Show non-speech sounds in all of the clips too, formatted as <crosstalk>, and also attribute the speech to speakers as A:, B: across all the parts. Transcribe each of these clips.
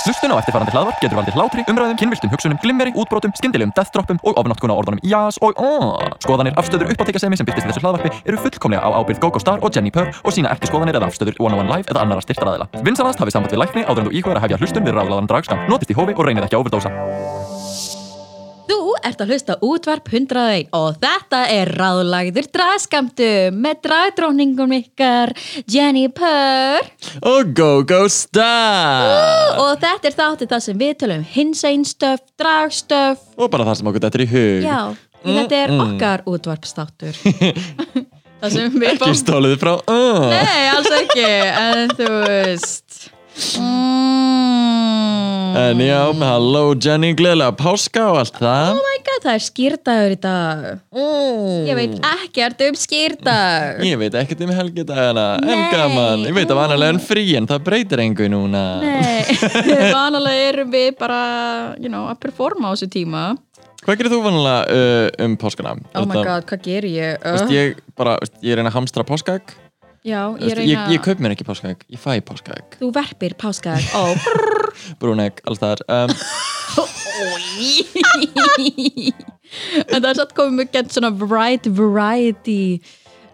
A: Hlustun á eftirfarandi hlaðvarp getur valdið hlátri, umræðum, kynviltum hugsunum, glimmeri, útbrotum, skyndilegum deathtroppum og ofnotkun á orðunum jás og aaaah. Skoðanir, afstöður, uppáttekasemi sem byrtist í þessu hlaðvarpi eru fullkomlega á ábyrgð GoGo Star og Jenni Purr og sína ekki skoðanir eða afstöður One on One Live eða annara styrtaraðila. Vinsanast hafið samband við lækni áður en þú íhugar að hefja hlustun við ráðlaðan dragskam. Notist í hófi og reynið ekki að overdósa.
B: Þú ert að hlusta á útvarp 101 og þetta er ráðlagður dragskamptu með dragdróningum ykkar Jenny Purr
C: og Go Go Star
B: og þetta er þáttið það sem við tölum hinsæn stöf, dragstöf
C: og bara það sem okkur þetta er í hug
B: Já, þetta er okkar útvarpstáttur Það sem við
C: ekki stólið frá uh.
B: Nei, alls ekki, en þú veist mm.
C: en já, halló Jenny, gleðilega páska og allt það
B: Oh my god, það er skýrdagur í dag Ég veit ekkert um skýrdag
C: ég veit ekkert um helgidagana en
B: Nei.
C: gaman, ég veit að vanalega en frí en það breytir engu núna
B: Nei, <laughs> vanalega erum við bara you know, að performa á þessu tíma
C: hvað gerir þú vanalega uh, um páskana?
B: Oh my
C: Þetta-
B: god, hvað ger ég? Uh,
C: Veist, ég bara, veist, ég reyna að hamstra páskag
B: Já, ég
C: ég,
B: reyna
C: ég, ég kaup mér ekki páskag, ég fæ páskag
B: Þú verpir páskaðar Ó, brr,
C: brúnegg, alls þar um,
B: oj. <laughs> En það er satt komið mjög gett svona bright variety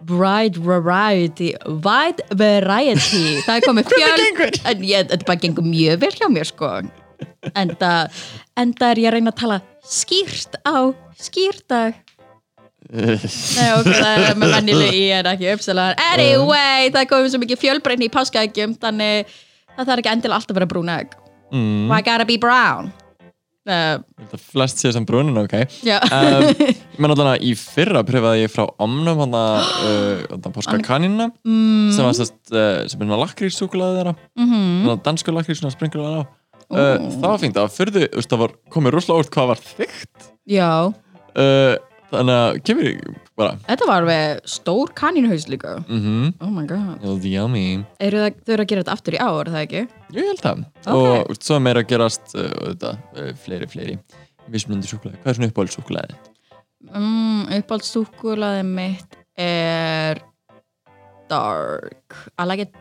B: Bright variety Wide variety Það er komið fjöl En ég, þetta Äh, bara gengur mjög vel hjá mér sko En það, en það er ég að reyna að tala skýrt á skýrdag Nei, ok, það er með vennileg í en ekki uppsalaðar. Anyway, það er komið svo mikið fjölbreyni í páskaeggjum, þannig það þarf ekki endilega alltaf að vera brún egg.
C: mm,
B: Why gotta be brown? Uh,
C: það flest sé sem brúnin, ok
B: já,
C: um, ég menn allan að í fyrra pröfaði ég frá omnum hann að uh, porska kanina mm. sem, var, sest, uh, sem er svona lakríssúkulaði þeirra mm -hmm. dansku lakrís svona springur það á uh, það var fínt, það var fyrðu veist, það var komið rosalega úr hvað var þygt
B: já,
C: uh, þannig að kemur ég bara
B: þetta var alveg stór kaninhaus líka.
C: mm -hmm,
B: Oh my god.
C: yummy
B: Eru það, þau eru að gera þetta aftur í ár, er það ekki?
C: Jú, ég held það
B: Ok.
C: og veist, svo er meira að gerast uh, auðvitað, uh, fleiri, fleiri vismunandi súkulaði, hvað er svona uppáhaldsúkulaði?
B: Mm, Uppáldstúkulaði mitt er dark. I like it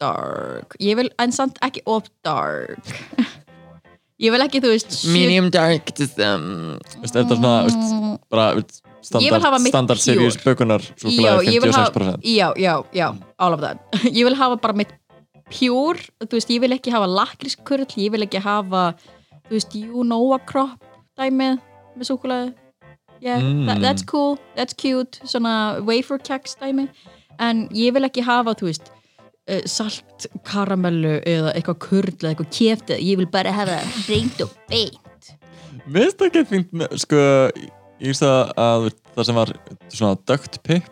B: dark. Ég vil, en samt ekki of dark. <laughs> Ég vil ekki, þú veist, Mm.
C: dark to them Vist, þetta er svona, veist, bara veist,
B: Ég vil hafa
C: standard,
B: mitt
C: standard
B: pure.
C: series bökunar
B: já,
C: súkkulaði
B: ég vil hafa,
C: 56%
B: já, já, já, all of that <laughs> ég vil hafa bara mitt pure þú veist, ég vil ekki hafa lakrískurl ég vil ekki hafa, þú veist, you know a crop dæmið með súkulaði yeah,
C: Mm.
B: that, that's cool, that's cute svona wafer keks dæmi en ég vil ekki hafa, þú veist eh, salt, karamellu eða eitthvað kurl eða eitthvað kæft ég vil bara hafa reynd og beint
C: Mér finnst það ekki fínt með, sko, ég veist að, að veist, það sem var svona dögt pip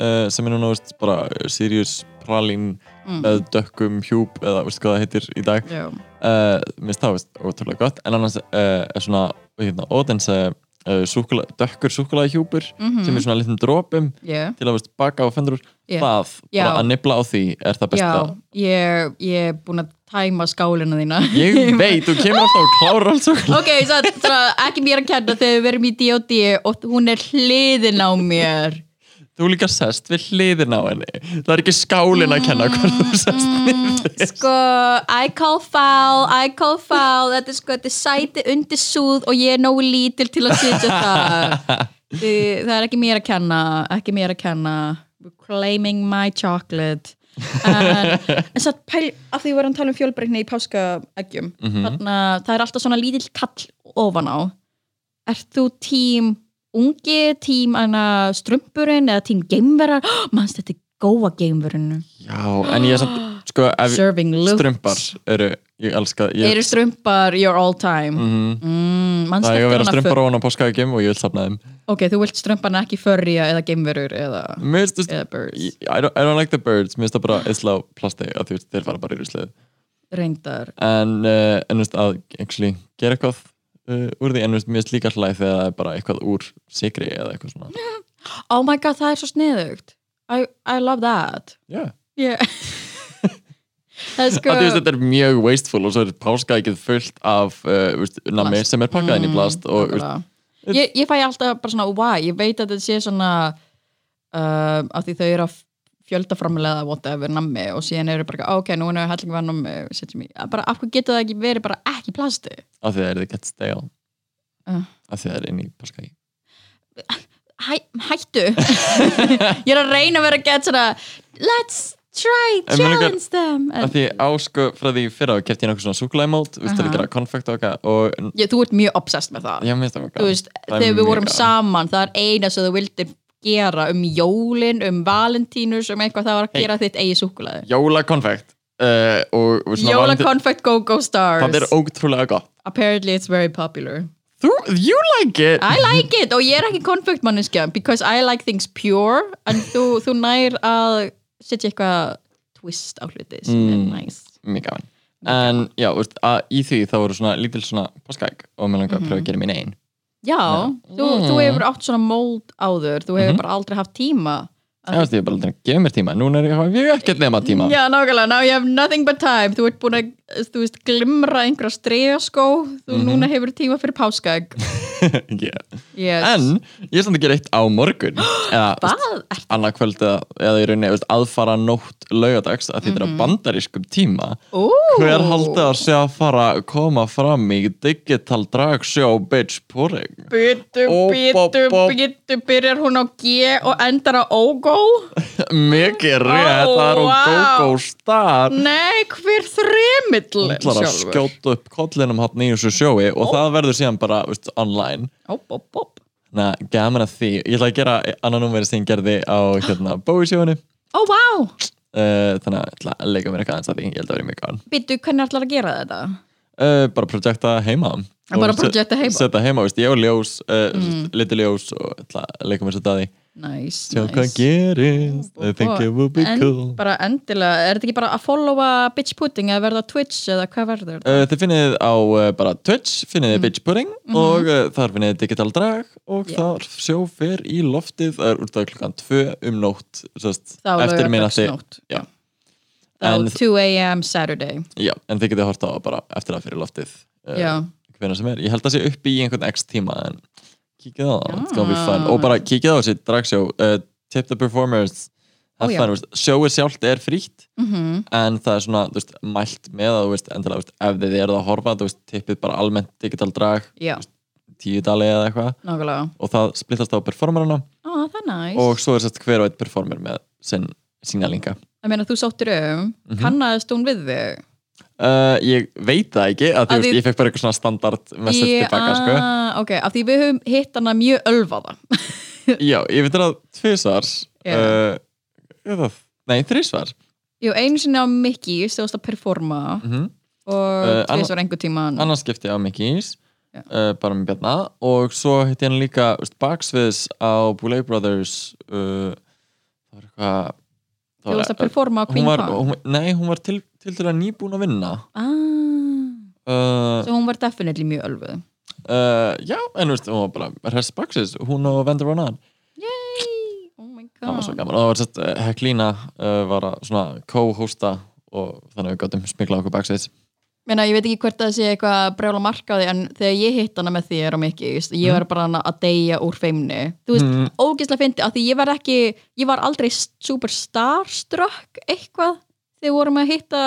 C: uh, sem er núna, veist, bara eh, Sirius pralín
B: Mm.
C: með dökkum hjúp eða, veist, hvað það heitir í dag
B: já,
C: uh, mér finnst það, veist, ótrúlega gott en annars uh, er svona, hérna, ódense uh, súkula, dökkur súkulaði hjúpur sem er svona litlum dropum
B: yeah.
C: til að, veist, baka á fendur
B: Yeah.
C: það,
B: Mhm. Já.
C: bara að nibla á því er það besta
B: já ég, ég er búin að tæma skálina þína <laughs>
C: Ég veit, þú kemur alltaf og klárar alls og
B: Ok, satt, satt, ekki mér að kenna þegar við verum í D.O.D. og hún er hliðin á mér.
C: Þú líka sest við hliðin á henni Það er ekki skálin að kenna hvað
B: Mm.
C: þú sest niður
B: Sko, I call foul, I call foul, þetta er sko, þetta er sæti undir súð og ég er nógu lítil til að sitja það.
C: <laughs>
B: Þi- Það er ekki mér að kenna, ekki mér að kenna. Claiming my chocolate. En, en satt pæl, af því við varum að tala um fjölbreytni í páskaeggjum, mm
C: Mhm.
B: þannig að það er alltaf svona lítill kall ofan á. Ert þú tím ungi, tím hana, strumpurinn eða tím <gasps> geimverar? Manst þetta er góa geimverinu.
C: Já, en ég er samt Sko, ef
B: Serving looks.
C: strumpar eru Ég elska ég,
B: Eru strumpar your all time
C: Mhm.
B: mm, manstu
C: Það er
B: eftir
C: að vera
B: hana
C: strumpar
B: fur-
C: ofan á páskaðegjum og ég vil safna þeim
B: Ok, þú vilt strumpana ekki förja eða geimverur eða,
C: Mér finnst þú
B: eða birds
C: I don't, I don't like the birds, mér finnst það bara isla á plasti að þú veist, þeir fara bara í ruslið
B: reyndar
C: en, uh, en þú veist, að actually, gera eitthvað uh, úr því en þú veist, mér finnst líka hlæð þegar það er bara eitthvað úr sigri eða eitthvað svona
B: Oh my god, það er svo sniðugt I, I love that
C: yeah. <laughs>
B: yeah. Það er sko
C: að þú veist þetta er mjög wasteful og svo er páskaækið fullt af uh, veist, nami
B: Plast. Mm,
C: sem er pakkað inn í plast og veist,
B: Nákvæmlega. ég, ég fæ alltaf bara svona why, ég veit að þetta sé svona uh, að því þau eru að fjöldaframlega whatever nammi og síðan eru bara ok, nú erum við hellingu að nammi setjum í, bara af hverju getur það ekki verið bara ekki í plasti
C: af því það er það gett stale
B: Uh.
C: af því það er inn í paskagi
B: Hæ, hættu <laughs> ég er að reyna að vera að geta svona let's try,
C: En mér
B: challenge them
C: af
B: en,
C: því ásku frá því í fyrra og kefti ég nokkuð svona súkulæmót þú veist það er
B: Aha.
C: að gera konfekt og eitthvað og n-
B: ég, þú ert mjög obsessed með það
C: já, mér finnst það mjög
B: þú
C: gaman.
B: veist,
C: Það er
B: þegar við
C: mjög
B: vorum
C: gaman.
B: saman það er eina sem þú vildir gera um jólin, um valentínus um eitthvað það var að
C: Hey.
B: gera þitt eigi súkulaði
C: jólakonfekt uh, og, og svona
B: Jóla
C: valenti-
B: Confect Go Go Stars
C: það er ótrúlega gott
B: Apparently it's very popular
C: Þú, you like it
B: I like it og ég er ekki confect manneskja because I like things pure en þú, þú nær að setja eitthvað twist á hluti sem
C: Mm.
B: er nice
C: mjög gaman en já, þú veist, að, í því þá voru svona lítil svona paskag og mér langar að
B: Mhm.
C: pröfa að gera mín einn
B: Já, Þú, þú
C: Mm. Mhm.
B: hefur átt svona mold áður þú hefur bara aldrei haft tíma
C: ég veist ég er bara aldrei að gefa mér tíma núna er ég hafa ég ekkert nema tíma
B: Já, nákvæmlega, now you have nothing but time þú ert búin að, þú veist, glimra einhverja stregaskó, þú
C: Mhm.
B: núna hefur tíma fyrir páskag
C: yeah.
B: yes.
C: en ég er samt að gera eitt á morgun
B: <gasps>
C: eða þú veist,
B: Hvað? Er-
C: annað kvöld eða, eða í rauninni þú veist, aðfara nótt laugadags að því
B: Mhm.
C: þetta er á bandarískum tíma
B: Ó.
C: hver haldið að sé að fara að koma fram í digital drag show bitch pouring
B: Byttu,
C: Ó,
B: byttu,
C: bó, bó.
B: byttu, byrjar hún á G og endar á ógó?
C: mikið rétt,
B: Ó,
C: það er hún
B: vá.
C: go-go star
B: Nei, hver þremill
C: ætlar að skjóta upp kollinum hann í þessu sjói og það verður síðan bara veist, online
B: Óp, óp, óp.
C: Na, gaman að því, ég ætla að gera annan númer sem ég gerði á hérna, bóisjónu
B: Ó, vá!
C: uh, þannig að ég ætla að leika mér eitthvað aðeins að því, ég held að vera mjög gaman
B: Byttu, hvernig ætlar að gera þetta?
C: uh, bara projekta heima
B: En bara
C: Og set-
B: projekta heima?
C: setja heima, veist, ég og ljós, uh, mm. liti ljós og ég ætla að leika mér setja að því
B: Næs,
C: sjá hvað gerist, I think it will be
B: En
C: cool
B: bara endilega, er þetta ekki bara að followa bitch pudding eða verða á Twitch eða hvað verður þetta?
C: Uh, þið finnið þið á uh, bara Twitch, finnið þið Bitch Pudding og uh, þar finnið þið Digital Drag
B: Mm.
C: og
B: Mhm. Yeah.
C: þar sjó fyrr í loftið, það er úr það klukkan 2 um nótt, sérst,
B: Þá er
C: eftir minnati,
B: laugardagsnótt,
C: já.
B: já. Þá
C: En-
B: 2 a.m. Saturday
C: já, en þið getið horta á bara eftir að fyrir loftið, eh,
B: Já,
C: hvernig sem er, ég held að sé upp í einhvern x tíma en kíkið á það, it's gonna be
B: Já.
C: fun og bara kíkið á þessi dragshow, uh, tip the performers,
B: Ó,
C: have
B: já.
C: fun, veist, sjóið sjálft er frítt
B: mhm
C: en það er svona, þú veist, mælt með að þú veist, endilega, þú veist, ef þið eruð að horfa þú veist, tippið bara almennt digital drag
B: Já,
C: tíu dali eða eitthvað
B: nákvæmlega
C: og það splittast á performerana
B: Ó, það er næs
C: og svo er sett hver og einn performer með sinn signalinga
B: Ég meina, þú sóttir um,
C: Mhm.
B: kannaðist hún við þig?
C: uh, ég veit það ekki að,
B: Að
C: að veist,
B: þið-
C: ég fekk bara eitthvað svona standard message
B: Í-
C: tilbaka sko.
B: ah, ok, af því við höfum hitt hana mjög ölvaða
C: já, ég veit það tvisar
B: Já.
C: yeah. uh, nei, þrísvar
B: Jú, einu sinni á Mickey stóðst að performa
C: mm -hmm.
B: og
C: Eh,
B: uh,
C: anna-
B: tvisar einhver tíma
C: annars skipti ég á Mickey's
B: Já.
C: uh, bara með Bjarna og svo hitt ég hann líka veist, baksviðs á Boulet Brothers uh, það var eitthvað það
B: þú
C: var- eh,
B: varst að performa á
C: hún
B: Queen
C: var,
B: Park
C: hún, nei, hún var til, til til að nýbúin að vinna
B: ah,
C: uh,
B: svo hún var definitely mjög ölvuð
C: uh, já, en þú veist, hún var bara Hess Baxis, hún og Vendor var nann
B: yay, oh my
C: það var svo
B: god
C: gaman, og það var sett uh, Heklína uh, var að svona co-hosta og þannig að við gáttum smikla okkur Baxis
B: Meina, ég veit ekki hvort það sé eitthvað brjála markaði en þegar ég hitt hana með þér og Mickey veist, ég var bara hana að deyja úr feimni þú veist,
C: Mm.
B: ógeðslega fyndi, af því ég var ekki ég var aldrei super starstruck eitthvað, þegar við vorum að hitta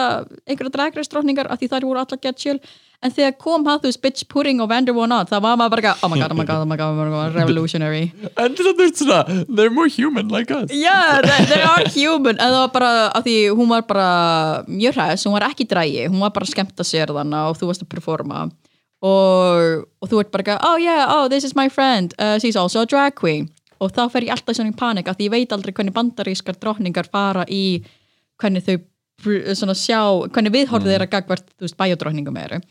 B: einhverja dragreistrókningar af því þær voru allar gett chill en þegar kom það, þú veist, bitch pudding og Vander One Out það var maður bara, eitthvað, oh my god, oh my god, oh my god, oh my god revolutionary
C: en þess að þú veist svona, they're more human like us
B: Já, they, they are human en það var bara, af því hún var bara mjög hræðis, hún var ekki drægi hún var bara að skemmta sér þannig og þú varst að performa og, og þú ert bara eitthvað, oh yeah, oh this is my friend uh, she's also a drag queen og þá fer ég alltaf svona í panik af því ég veit aldrei hvernig bandarískar drottningar fara í hvernig þau br- svona sjá, hvernig viðhorfið mm. þeirra gagvart, þú veist, bæjadrottningum eru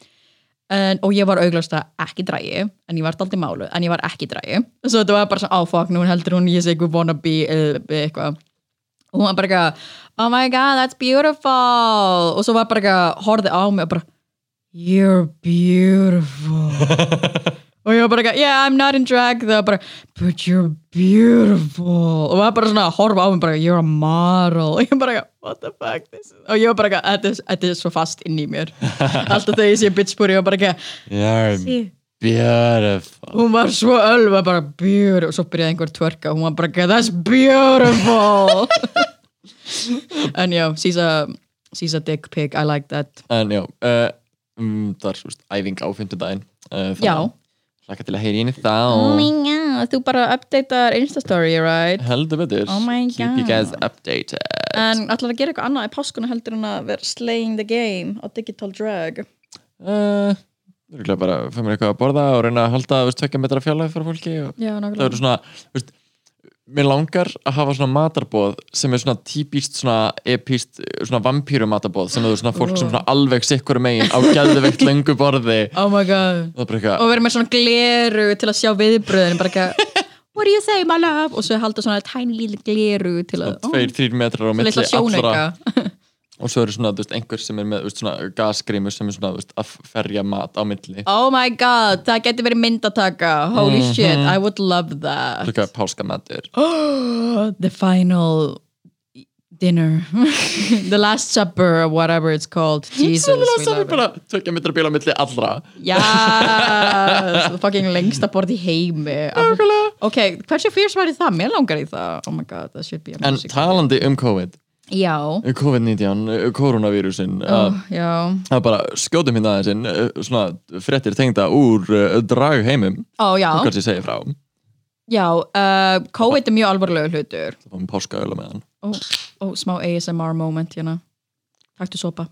B: en, og ég var auglasta ekki drægi en ég var daldið málu, en ég var ekki drægi svo þetta var bara svona, oh fuck, nú heldur hún ég sé eitthvað wannabe eh, eitthvað og hún var bara eitthvað, oh my god that's beautiful og svo var bara eitthvað, horfið á mig og bara you're beautiful og ég var bara eitthvað, yeah I'm not in drag það var bara, but you're beautiful og var bara svona að horfa á mig bara you're a model, og ég bara eitthvað what the fuck this is, og ég var bara eitthvað þetta er- þetta er svo fast inn í mér alltaf þegar ég sé bitch búri, ég var bara eitthvað
C: yeah,
B: "Sí."
C: beautiful
B: hún var svo ölva bara beautiful <laughs> og svo byrjaði einhver tverka og hún var bara ekki, that's beautiful en já, she's a she's a dick pig, I like that
C: en já, uh, um, það er svist æfing á fimmtudaginn uh,
B: já,
C: Laka til að heyri henni þá
B: oh my god, þú bara updatear Insta story, right?
C: Heldur betur
B: Oh my
C: Keep you
B: God.
C: guys updated
B: En ætlar að gera eitthvað annað í páskuna heldur en að vera slaying the game á digital drug
C: uh, Það er bara að fæða mér eitthvað að borða og reyna að halda veist, tvekja metra fjarlæði fyrir fólki og
B: Já,
C: það
B: nákvæmlega
C: eru svona veist, mér langar að hafa svona matarboð sem er svona típist svona epist svona vampýru matarboð sem eru svona fólk sem svona alveg sikkur megin á gæðveikt lengu borði
B: Oh my god
C: og það er bara eitthvað
B: Og vera með svona gleru til að sjá viðbröðin bara ekki að <laughs> What do you say my love? Og svo halda svona tiny little gleru til að ó,
C: tveir, þrír metrar á
B: svo litla
C: milli allra
B: sjónauka
C: og svo eru svona þú veist, einhver sem er með þú veist, svona gasgrímur sem er svona þú veist, að ferja mat á milli
B: Oh my god, það getur verið myndataka Holy shit, I would love that <gasps>
C: Líka páskamatur
B: oh, The final dinner <laughs> The last supper or whatever it's called Jesus,
C: Svo
B: we
C: það
B: love
C: er bara tökja mitra bíl á milli allra
B: it Yes, the fucking lengsta borð í heimi Ok, hversu fyrst væri það? Mér langar í það Oh my god, that should be
C: En
B: amazing
C: talandi um COVID
B: Já,
C: um COVID-19, um koronavírusin
B: oh,
C: að-
B: já
C: að bara skjótum hérna aðeinsinn svona frettir tengda úr uh, dragheimum,
B: Ó, já,
C: hvað ég segi frá það
B: já uh, COVID er mjög alvarlega hlutur
C: var með páskaöla með hann
B: Ó, ó, smá ASMR moment hérna Taktu sopa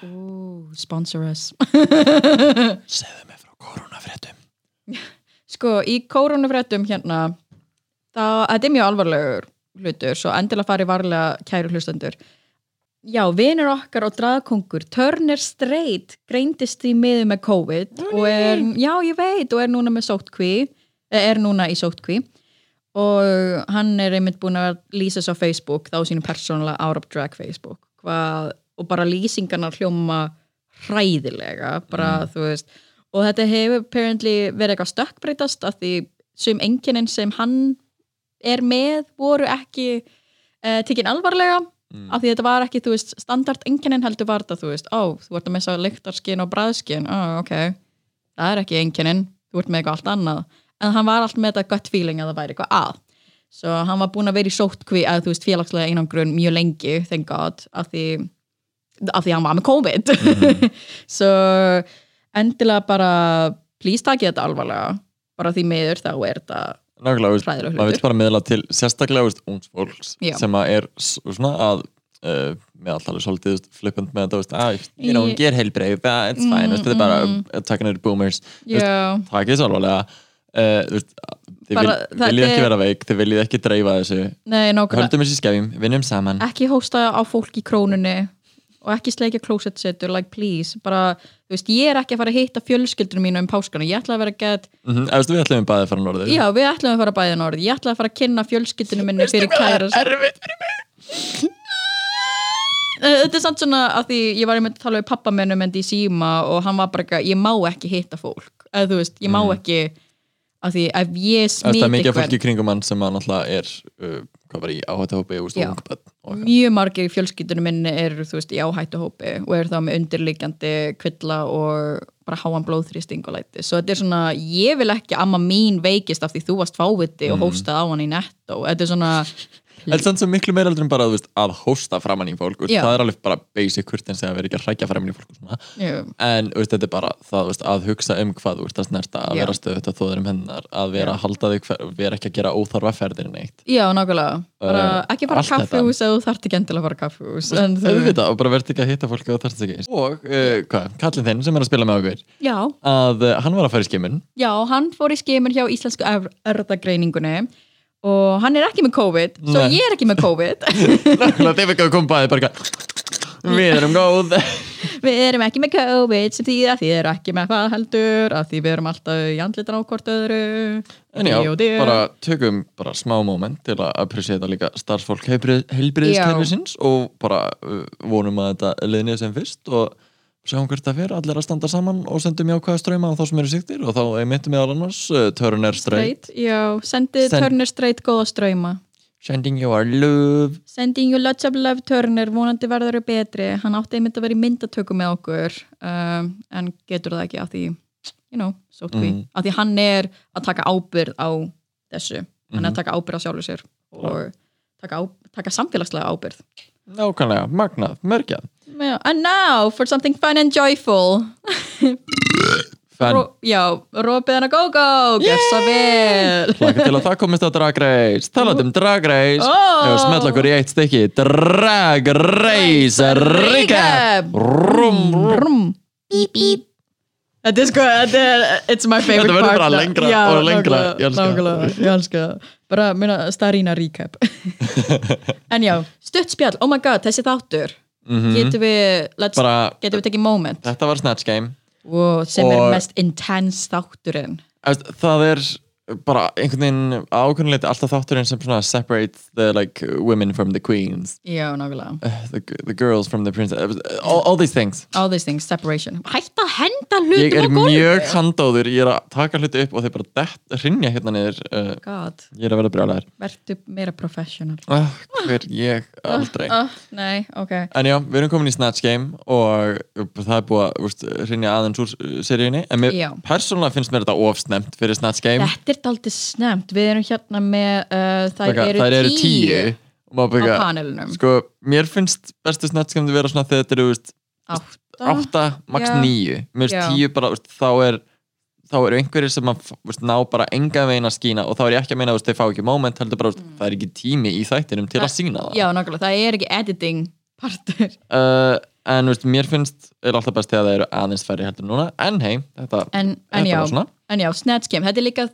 B: Ú, sponsor us
C: Segðu mig frá koronafrettum
B: Sko, í koronafréttum hérna þá, þetta er mjög alvarlegur hlutur, svo endilega farið varlega kæru hlustendur Já, vinur okkar og draðkongur Turner Strait greindist í miður með COVID og er, já ég veit, og er núna með sóttkví eh, er núna í sóttkví og hann er einmitt búin að lýsa svo á Facebook, þá sínu persónulega out of drag Facebook hvað, og bara lýsingarnar hljóma hræðilega, bara þú veist og þetta hefur apparently verið eitthvað stökkbreytast af því sem enginin sem hann er með voru ekki uh, tekin alvarlega af því þetta var ekki, þú veist, standard enginin heldur var þetta, þú veist, ó, þú ert að missa lyktarskin og bræðskin, ó, ok það er ekki enginin, þú ert með eitthvað allt annað en hann var allt með þetta gött feeling að það væri eitthvað að svo hann var búin að vera í sótkví að þú veist félagslega einangrun mjög lengi, thank god af því, af því hann var með COVID <laughs> svo endilega bara please takið þetta alvarlega bara því miður þá er þetta
C: Nákvæmlega, veist,
B: Hræðilegur
C: maður
B: hlutur.
C: vil bara meðla til sérstaklega veist, ungs fólks
B: Já.
C: sem að er s- svona að uh, með alltaf alveg svolítið veist, flippant með þetta veist, ah, you
B: Í- Mm,
C: know, ég er heilbreið, það it's fine veist, þetta er bara uh, takin er boomers
B: já,
C: takið þessu alvarlega uh, þú veist, þið vil,
B: Bara, þetta
C: viljið ekki
B: er-
C: vera veik, þið viljið ekki dreifa þessu
B: nei nákvæmlega
C: höldum þessu í skefjum, vinnum saman
B: ekki hósta á fólk í krónunni og ekki sleikja closet setur, like please bara, þú veist, ég er ekki að fara að hitta fjölskyldunum mínu um páskana, ég ætla að vera að get
C: mm -hmm. við ætlum bæðið fara norður
B: já, við ætlum að fara bæðið norð, ég ætla að fara að kynna fjölskyldunum minni fyrir kærast
C: erfitt fyrir
B: Eh, Þetta er samt svona að því ég var einmitt að tala við pappa minn um endi í síma og hann var bara ekki ég má ekki hitta fólk eða þú veist, ég má ekki að því ef ég
C: það
B: smiti
C: er Mm. mikið af
B: einhvern-
C: fólki í kringum hann sem að náttúrulega er uh, hvað var í áhættahópi og
B: Já.
C: stóðungaböld
B: mjög margir í fjölskyldunum minni eru þú veist í áhættuhópi og eru þá með undirliggjandi kvilla og bara háan blóðþrýsting og læti svo þetta er svona, ég vil ekki að amma mín veikist af því þú varst fáviti
C: Mm.
B: og hóstað á hann í netto þetta er svona,
C: en samt sem miklu meira heldur en bara þú veist, að hósta framann í fólk þú veist,
B: Já.
C: það er alveg bara basic kurtin sem að vera ekki að hrækja framann í fólk og svona.
B: jú,
C: en þú veist, þetta er bara það þú veist, að hugsa um hvað þú ert að snerta að
B: Já.
C: vera stöðut að þóður um hennar að vera að halda þig, hver- vera ekki að gera óþarfa ferðir um neitt
B: já, nákvæmlega bara,
C: Eh,
B: ekki bara
C: allt þetta.
B: kaffihús eða þú þarft ekki endilega að fara á kaffihús en þú veist,
C: auðvitað og bara verður ekki að hitta fólk og þarst ekki og uh, hvað, kallin þinn sem er að spila með okkur
B: já
C: að uh, hann var að fara
B: <laughs>
C: í skimun
B: Já, hann fór í skimur hjá Íslensku er- erfðagreiningunni og hann er ekki með COVID, svo
C: Nei.
B: ég er ekki með COVID
C: <laughs> Nákvæmlega, þeir fikk að koma bæði bara eitthvað, Við erum góð
B: við erum ekki með COVID sem þýða því þið eru ekki með hvað heldur að því við erum alltaf í andlitan á hvort öðru
C: En já,
B: Jú, þið-
C: bara tökum bara smá moment til að appreciata líka starfsfólk heilbriðiskerfisins og bara uh, vonum að þetta liðnið sem fyrst og sjáum hvert það fyrir, allir að standa saman og sendum jákvæða ströyma á þá sem eru siktir og þá einmittum við alannars uh, Turner Strait
B: Straight, Já, sendið
C: Send-
B: Turner straight góða ströyma
C: Sending you our love
B: Sending you lots of love Turner vonandi verður þau betri, hann átti einmitt að vera í myndatöku með okkur um, en getur það ekki að því you know, sótt því,
C: Mhm.
B: að því hann er að taka ábyrð á þessu, hann er að taka ábyrð á sjálfu sér og taka, á, taka samfélagslega ábyrð
C: Nákvæmlega, magnað, merkjað
B: Já, And now for something fun and joyful
C: Fenn,
B: Ró, Já, rópið hana go-go Gjör svo vel
C: hlaka til að það komist að Drag Race Talandi um Drag Race
B: Ó.
C: Ef við smetla okkur í eitt stykki Drag Race Recap Rúm, rúm
B: Brum, bíp, bíp Þetta er sko, þetta er, it's my favorite
C: Þetta verður
B: part
C: bara lengra og lengra, ég elska það.
B: nákvæmlega, ég elska það. Bara, minna, starína
C: <laughs>
B: recap En já, stutt spjall, oh my god, þessi þáttur Getum við, let's,
C: Mhm. Bara-
B: getum við tekið moment
C: Þetta var Snatch Game
B: wow, Sem
C: Og-
B: er mest intense þátturinn
C: Efst, Það er bara einhvern veginn ákveðinleiti alltaf þátturinn sem svona separates the like women from the queens
B: Já, nákvæmlega
C: uh, the, the girls from the princess uh, all, all these things
B: all these things, separation hætta að henda
C: ég er
B: hlutum á gólfi
C: mjög handóður, ég er að taka hluti upp og þeir bara dett, rinja hérna niður uh,
B: Oh God,
C: ég er að vera brjálæðar
B: verðu meira professional
C: uh, hver ég aldrei
B: oh, nei, ok
C: en já, við erum komin í Snatch Game og uh, það er búið að úrst, rinja aðeins úr uh, seríunni en mér,
B: Já.
C: persónulega finnst mér þetta ofsnemt fyrir Snatch Game
B: þetta er daldið snemt, við erum hérna með uh, þær,
C: Taka,
B: eru
C: þær eru tíu, og maður
B: á
C: byrja
B: panelinum
C: sko, mér finnst bestu Snatch Game að vera svona þegar þetta eru úrst,
B: átta,
C: átta, max
B: Ah, Já.
C: níu mér
B: Já.
C: finnst tíu bara, úrst, þá er þá eru einhverjir sem að úrst, ná bara enga veginn að skína og þá er ég ekki að meina úrst, þeir fá ekki moment, heldur bara úrst, það er ekki tími í þættinum til að sína það
B: Mm. já, nákvæmlega, það er ekki editing partur,
C: uh, en úrst, mér finnst er alltaf best þegar það eru aðeins færri heldur en núna en hei, þetta,
B: en,
C: þetta
B: en já
C: var svona
B: en já, snatch game, þetta er líka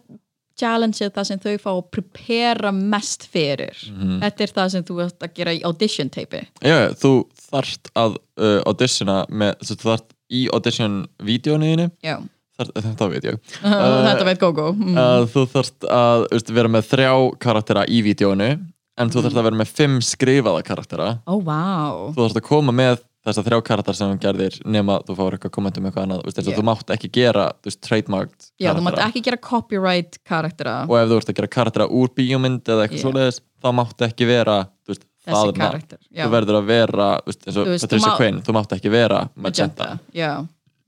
B: challengeið það sem þau fá að prepara mest fyrir,
C: Mm.
B: þetta er það sem þú ert að gera í audition teipi
C: já, Mhm. já, þú þarft að uh, auditiona með, þú þarft í audition vídjóniðinu,
B: já,
C: þetta veit ég
B: <laughs> þetta veit Gogo mm.
C: að þú þarft að veist, vera með þrjá karaktera í vídjónu en
B: Mm.
C: þú þarft að vera með fimm skrifaða karaktera
B: oh wow
C: þú þarft að koma með þessa þrjá karaktera sem þú gerðir nema þú fáir eitthvað komment um eitthvað annað veist, yeah.
B: Já.
C: þú mátt ekki gera þú veist, trademarked
B: Já, þú mátt
C: karaktera
B: ekki gera copyright karaktera
C: og ef þú ert að gera karaktera úr bíómynd eða eitthvað
B: Já.
C: svoleiðis þá mátt ekki vera þú veist,
B: þessi
C: það nafn.
B: karakter já.
C: þú verður að vera þú veist, eins og
B: Þú veist, þú
C: Patricia
B: má-
C: Quinn, þú mátt ekki vera Magenta,
B: Já,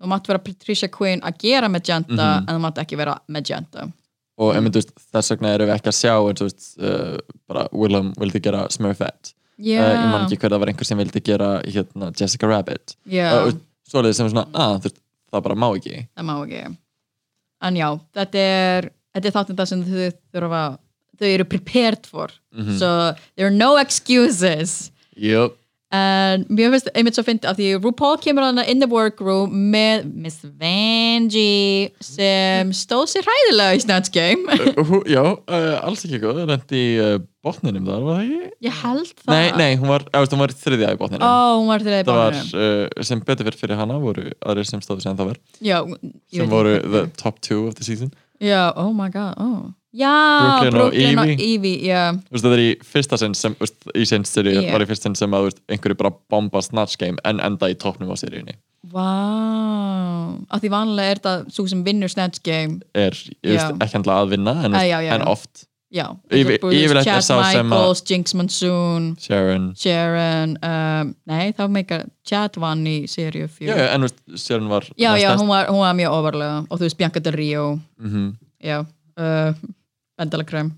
B: þú mátt vera Patricia Quinn að gera Magenta
C: Mhm.
B: en þú mátt ekki vera Magenta
C: og
B: Mm.
C: emi, veist, þess vegna erum við ekki að sjá eins og þú veist, uh, bara Willem vildi gera Smurfette
B: Já,
C: yeah. Eh, ég man ekki hver það var einhver sem vildi gera hérna, Jessica Rabbit
B: já
C: yeah. uh, svoleiðið sem svona, að þú veist, það bara má ekki
B: það má ekki En já, þetta er, þetta er þáttum það sem þau þurfa þau eru prepared for
C: Mhm.
B: so there are no excuses
C: jöp,
B: en mér finnst einmitt svo fyndi af því RuPaul kemur hana in the workroom með Miss Vanjie sem stóð sér hræðilega í Snatch Game
C: Eh, já, uh, alls ekki góð rendi í uh, botninum þar, var það ekki?
B: Ég held það
C: nei, nei, hún var, eða, hún var þriðja í botninum
B: Ó, hún var til þeirra
C: það var,
B: báðurum
C: uh, sem betur fyrir fyrir hana voru aðrir sem stóðu sem það var
B: Já, ég
C: sem
B: veit
C: voru
B: ekki.
C: the top two of the season
B: Já, oh my god, oh Já,
C: Brooklyn og
B: Brooklyn og
C: Evie.
B: Evie Já,
C: Þú veist, það er í fyrsta sinn sem þú veist, í sinn serið
B: Já.
C: var í fyrsta sinn sem að þú veist, einhverju bara bomba snatch game en enda í toppnum á seriðinni
B: vá Af því vanlega er það svo sem vinnur Snatch Game
C: er ég veist,
B: Já.
C: ekki handla að vinna en, þú veist,
B: Æ, já, já,
C: en
B: já.
C: oft
B: Já,
C: Evie-
B: eins og Bruce,
C: yfirleitt er
B: Chad
C: sá sem að-
B: Michaels, Jinx Monsoon
C: Sharon
B: Sharon um, Nei, þá meika Chad vann í seríu
C: Já,
B: fjör
C: já, en þú veist, Sharon var
B: Já,
C: var
B: já,
C: stærst.
B: hún var, hún var mjög ofarlega og þú veist Bianca Del Rio
C: Mhm.
B: já, uh, endalakrem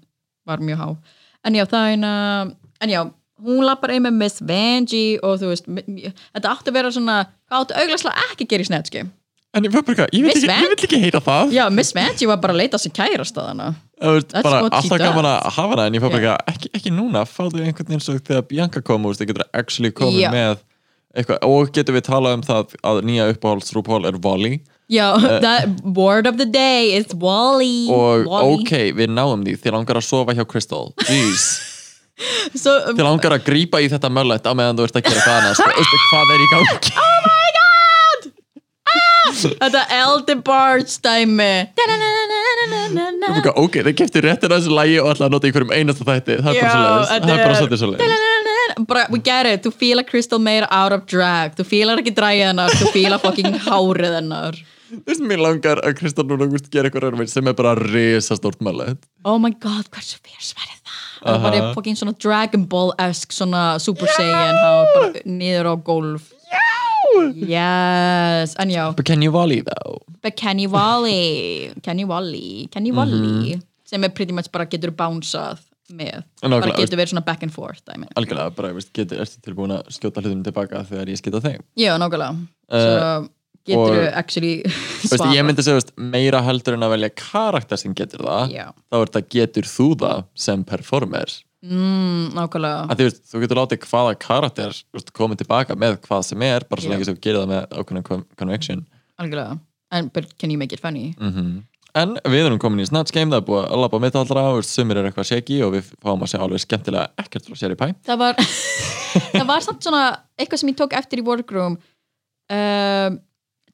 B: var mjög há en já, það er eina en já, hún lappar ein með Miss Vanjie og þú veist, m- m- þetta átti að vera svona hvað áttu auglagslega ekki að gera í snetski
C: En ég, bara, ég, vil
B: Miss
C: ekki,
B: Van?
C: ég vil ekki heyra það
B: já, Miss Vanjie var bara að leita sem kærast að hana
C: Þú veist,
B: That's
C: bara
B: what she
C: alltaf
B: does.
C: gaman að hafa hana en ég fá bara ekki, ekki núna, fáðu einhvern veginn svo þegar Bianca kom úr, það getur actually komið
B: Já.
C: með eitthvað, og getum við talað um það að nýja uppáhalds RuPaul er Wally
B: já, that word of the day is Wally
C: Eh. og
B: Wall-E.
C: ok, við náum því, þið langar að sofa hjá Crystal jeez,
B: <laughs> so, um,
C: þið langar að grípa í þetta mörlætt á meðan þú ert að gera hvað annars Þú veist, hvað er í gangi
B: þetta Eldebarge dæmi Da-da-da-da-da-da-da-da.
C: Bara, ok, þið keftir réttin að þessu lægi og ætla að nota í hverjum einasta þætti, það er
B: Já,
C: bara svo
B: þetta
C: það er bara
B: er-
C: svolítið svo
B: bara, we get it, þú fílar Crystal meira out of drag, þú fílar ekki dræðið hennar þú fílar
C: <laughs>
B: fucking hárið hennar
C: Þú veist, mér langar að Kristján núna úrst gera eitthvað raunveit sem er bara risastórt málið.
B: oh my god, hversu fyrst verið það það var ég fucking svona Dragon Ball-esk svona Super Saiyan hann var bara niður á gólf yes, en já
C: But can you volley though?
B: but Kenny
C: Mhm.
B: Wally Kenny Wally, Kenny Wally sem er pretty much bara getur bánsað með
C: Nákvæmlega,
B: bara
C: veist-
B: getur verið svona back and forth dæmi.
C: algjörlega bara, veist, getur, ertu tilbúin að skjóta hlutum tilbaka þegar ég skita þeim
B: já, nákvæmlega
C: Eh,
B: svo getur
C: og-
B: við actually <laughs>
C: veist,
B: svarað.
C: ég myndi segja veist, meira heldur en að velja karakter sem getur það
B: Já.
C: þá er þetta getur þú það sem performer
B: mm, nákvæmlega,
C: að því, veist, þú getur látið hvaða karakter veist, komið tilbaka með hvað sem er bara svo
B: Já.
C: lengi sem þú gerir það með ákveðna con- conviction
B: algjörlega And, but can you make it funny?
C: Mhm. en við erum komin í Snatch Game það er búið að labba mitt allra og sumir eru eitthvað shaky og við fáum að segja alveg skemmtilega ekkert frá Sherry Pie
B: það
C: <laughs>
B: var það var samt svona eitthvað sem ég tók eftir í workroom um,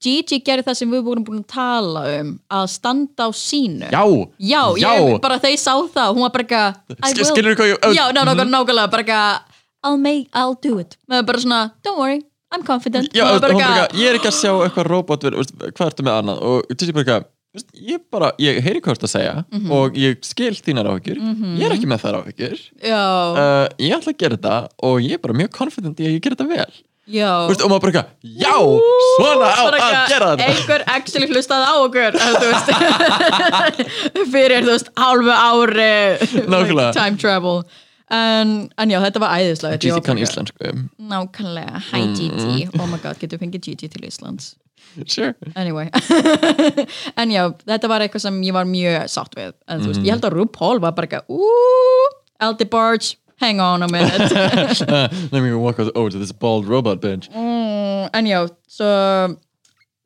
B: Gigi gerði það sem við vorum búin að tala um að standa á sínu
C: já,
B: já,
C: Já.
B: Ég, bara þegar ég sá það hún var bara eitthvað I
C: Sk-
B: will-
C: skilurðu hvað ég- Mhm.
B: já, ná, ná, nákvæmlega, bara eitthvað I'll, make, I'll do it maður bara svona, don't worry, I'm confident
C: já
B: Hún var
C: hún bara
B: eitthvað-
C: eitthvað, ég er ekki að sjá eitthvað robot verið, veist, hvað ertu með annað og Jesse bara eitthvað veist, ég bara, ég heyri hvað þú ert að segja
B: Mhm.
C: og ég skil þínar áhyggjur ég er ekki með þær áhyggjur
B: já,
C: uh, ég ætla að gera þetta og ég er bara mjög confident í að ég gera þetta vel
B: já
C: Þú veist, og maður bara eitthvað, já, svona á
B: Bara
C: að
B: eitthvað,
C: gera þetta
B: einhver actually hlustaði á okkur <laughs> eða þú veist <laughs> fyrir þú veist hálfu ári
C: Nákvæmlega.
B: time travel en, en já þetta var æðislega
C: Jesse kann Mm, íslensku
B: nákvæmlega, hi Gigi oh my god, getur fengið Gigi til Íslands
C: sure.
B: anyway <laughs> en já, þetta var eitthvað sem ég var mjög sátt við, en þú veist,
C: Mm.
B: ég held að RuPaul var bara eitthvað, úúúú Aldi Barge, hang on a minute
C: uh, let me walk over to this bald robot bench
B: Mm, en já, svo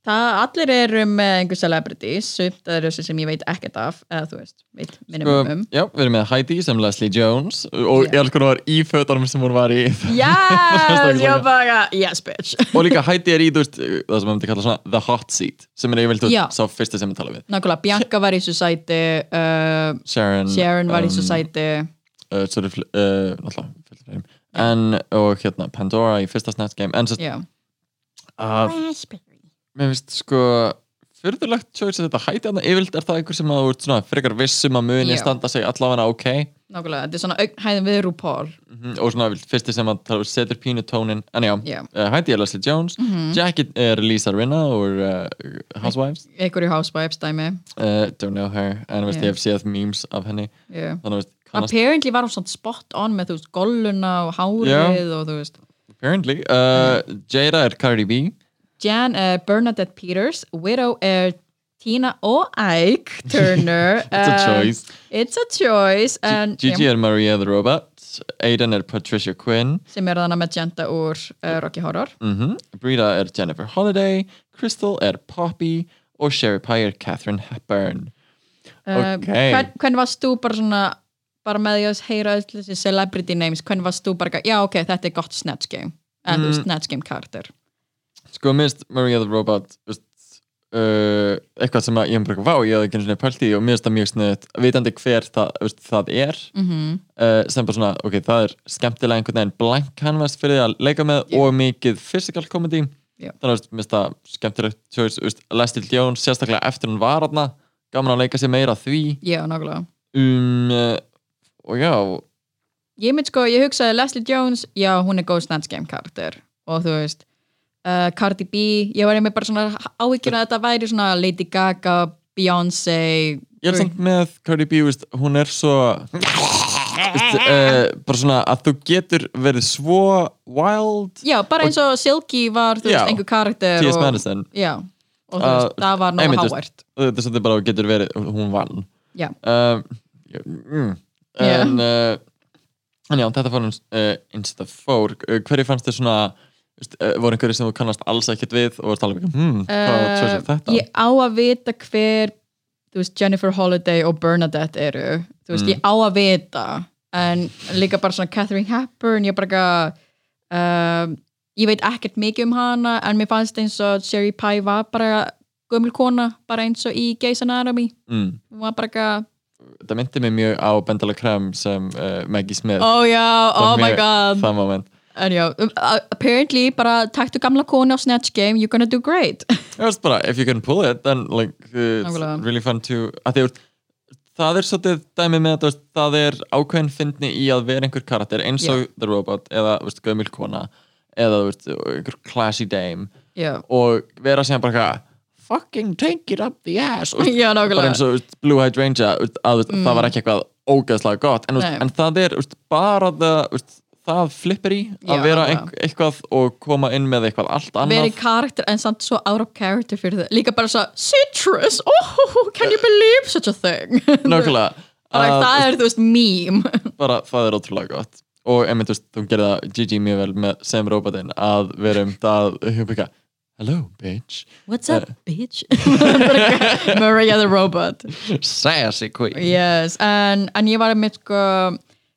B: það allir eru með einhver celebrities, sumt að eru þessi sem ég veit ekkert af, eða þú veist, veit minnum
C: og, <laughs>
B: um.
C: já, við erum með Heidi sem Leslie Jones og
B: Já.
C: yeah. alls konar í fötunum sem hún var í
B: Yes,
C: Staklega.
B: já bara, yes bitch.
C: og líka Heidi er í, þú veist, það sem við myndi kalla svona the hot seat, sem er yfirleitt þú
B: Já.
C: veist, sá fyrsti sem við tala við
B: Nákvæmlega, Bianca var í þessu sæti, uh,
C: Sharon,
B: Sharon var í
C: um,
B: þessu sæti,
C: uh, sort of, uh, náttúrulega, fullt af þeim. en, og hérna, Pandora í fyrsta Snatch Game en sérst,
B: já.
C: að mér finnst sko fyrðulegt choice að þetta hæti hann yfirlt er það einhver sem að þú ert svona frekar vissum að muni
B: Já.
C: standa sig allavega ok
B: Nákvæmlega, þetta er svona augnhæðin við RuPaul.
C: Mhm, og svona yfirleitt fyrsti sem að það setur pínu tónin en já,
B: Já. Mhm.
C: uh, hæti er Leslie Jones Jackie er Lisa Rinna úr uh, Housewives,
B: Ekkur í Housewives dæmi.
C: uh, don't know her en veist,
B: Já.
C: ég hef séð memes af henni
B: Yeah.
C: þannig að veist, kannast
B: Apparently var hún svona spot on með þú veist golluna og hárið og þú veist
C: apparently uh, Jada er Cardi B
B: Jan uh, Bernadette Peters, Widow er Tina og
C: <laughs>
B: Ike Turner. Eh,
C: It's a choice.
B: It's a choice. And,
C: Gigi er Maria the Robot Aiden er Patricia Quinn
B: sem er þannig Magenta úr uh, Rocky Horror.
C: mm Brita er Jennifer Holiday Crystal er Poppy og Sherry Pie er Catherine Hepburn
B: Uh,
C: ok.
B: hvern, hvern varst þú bara svona bara með því að heyra öll þessi celebrity names, hvern varst þú bara, eitthvað, já ok, þetta er gott Snatch Game, en
C: Mm.
B: þú veist Snatch Game karakter.
C: sko minnst Maria the Robot veist, uh, eitthvað sem að ég hef bara vá, ég hef ekki einu sinni pælt í og minnst það mjög sniðut vitandi hver það, veist, það er
B: Mhm.
C: uh, sem bara svona, ok, það er skemmtilega einhvern veginn blank canvas fyrir því að leika með
B: Já.
C: og mikið physical comedy
B: Já.
C: þannig að veist, minnst það skemmtilegt choice, veist, Leslie Jones, sérstaklega eftir hún var aðna, gaman að leika sér meira að því
B: Já, nákvæmlega.
C: um, uh, og já
B: Ég mynd sko, ég hugsaði Leslie Jones, já hún er góð Snatch Game karakter og þú veist uh, Cardi B, ég var einmitt bara svona áhyggjur að þetta væri svona Lady Gaga, Beyoncé
C: Ég er samt með Cardi B, veist, hún er svo veist, uh, bara svona að þú getur verið svo wild
B: Já, bara eins og Silky var, þú
C: Já.
B: veist, einhver karakter
C: T.S.
B: og-
C: Madison
B: Já, og þú veist,
C: Uh,
B: það var nóg
C: einmitt, þú veist,
B: hávært
C: þetta er svolítið bara að þú getur verið, hún vann
B: Já,
C: um, ég- mm,
B: Já.
C: en, uh, en já, þetta fór um uh, Instafór, uh, hverju fannst þér svona veist, uh, voru einhverju sem þú kannast alls ekkert við og varst alveg, hmm, hvað uh,
B: uh,
C: tjóðsir þetta?
B: ég á að vita hver þú veist, Jennifer Holiday og Bernadette eru þú veist, ég á að vita en líka bara svona Catherine Hepburn ég bara ekki um, ég veit ekkert mikið um hana en mér fannst eins og Sherry Pie var bara gömul kona, bara eins og í Grey's Anatomy
C: Mm,
B: hún var bara ekki,
C: þetta myndi mig mjög á Bendala Krem sem uh, Maggie Smith
B: oh já, oh my
C: Mjög
B: god
C: það moment
B: en já, um, uh, apparently bara taktu gamla konu á Snatch Game, you're gonna do great <laughs>
C: Ég veist bara, if you can pull it, then like, uh, it's
B: Nákvæmlega.
C: really fun to að því, þú veist, Það er svolítið dæmi með þetta, þú veist, það er ákveðin fyndni í að vera einhver karakter eins og The Robot eða þú veist, gömul kona eða þú veist, einhver classy dame
B: já,
C: og vera sem bara eitthvað fucking take it up the ass og, þú veist,
B: Já, nákvæmlega. Mm.
C: bara eins og þú veist, Blue Hydrangea þú veist, að, þú veist, það var ekki eitthvað ógeðslega gott en, þú veist,
B: Nei.
C: en það er úst, bara það, úst, það flippir í að
B: Já,
C: vera
B: já.
C: einhver, eitthvað og koma inn með eitthvað allt annað
B: verið karakter en samt svo out of character fyrir þau líka bara svo citrus, oh, can you believe such a thing <laughs> bara,
C: nákvæmlega Að,
B: það er þú veist meme
C: <laughs> bara, það er ótrúlega gott og einmitt, þú veist, þú gerði það Gigi mjög vel með sem robotinn að vera um það hugbygga, hello bitch
B: what's up bitch Maria the robot
C: sassy queen
B: yes, en, en ég var með sko,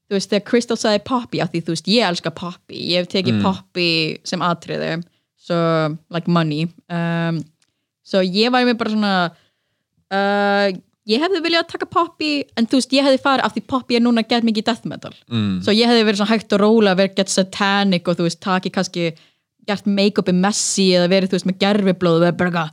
B: þú veist, þegar Crystal sagði Poppy, af því þú veist, ég elska Poppy ég hef tekið Poppy sem atriði so, like money um, so ég var með bara svona uh, ég hefði viljað taka Poppy en þú veist, ég hefði farið, af því Poppy er núna gett mikið death metal,
C: Mm.
B: so ég hefði verið svona hægt og róla, verið gett satanic og þú veist, takið kannski gert make-upi messy eða verið, þú veist, með gerfiblóð og verið bara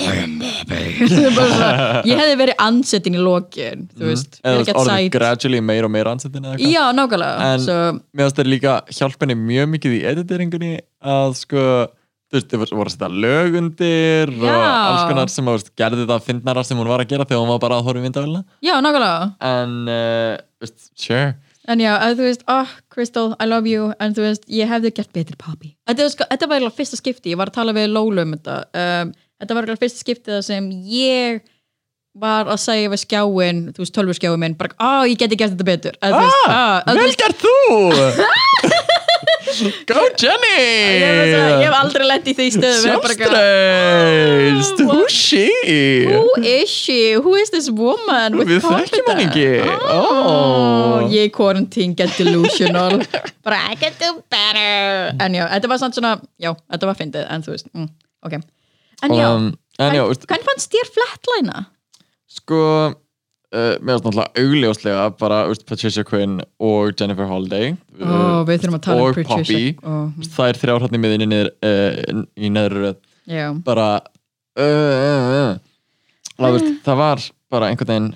B: eitthvað <laughs> bara svona, ég hefði verið ansettin í lokin þú veist, verið
C: eða þú veist,
B: gett
C: orðið
B: sæt
C: gradually meira og meira ansettin eða eitthvað
B: já, nákvæmlega
C: En-
B: so,
C: mér finnst það líka hjálpenni mjög mikið í editeringunni að sko þú veist, þau voru að setja lögundir
B: Já.
C: og alls konar sem að, þú veist, gerði það fyndnara sem hún var að gera þegar hún var bara að horfa í myndavélina
B: já, nákvæmlega
C: en, uh, veist, sure
B: en já, að, þú veist, oh, Crystal, I love you en þú veist, ég hefði gert betri pappi þetta, var sko, þetta var eiginlega fyrsta skipti, ég var að tala við Lólu um þetta, um, þetta var eiginlega fyrsta skipti þar sem ég var að segja við skjáin, þú veist, tölvurskjáin minn, bara, ó, ég geti gert þetta betur að, þú veist, ah, að, þú
C: vel
B: veist, <laughs>
C: gert þú go Jenny
B: ég var svo- ég hef aldrei lent í því stöðu verið bara eitthvað,
C: sjálfstreyst
B: Ah,
C: who
B: what?
C: is
B: Who
C: she
B: is she? Who is this woman um with
C: Við
B: confidence?
C: þekkjum hann ekki.
B: Oh,
C: Ó.
B: Ég er quarantine get delusional <laughs> Bara I can do better En já, þetta var samt svona Já, þetta var fyndið En þú veist, mm, ok En já,
C: Um, en já, veist,
B: hvernig fannst þér flatlæna?
C: sko uh, mér finnst náttúrulega augljóslega bara veist, Patricia Quinn og Jennifer Holliday
B: Ó, við þurfum að tala um
C: og Poppy.
B: Ó,
C: það er þrjár hann í miðinni niður, uh, í neðru röð
B: Já,
C: bara uh, uh, uh. Það, veist,
B: Mm.
C: það var bara einhvern veginn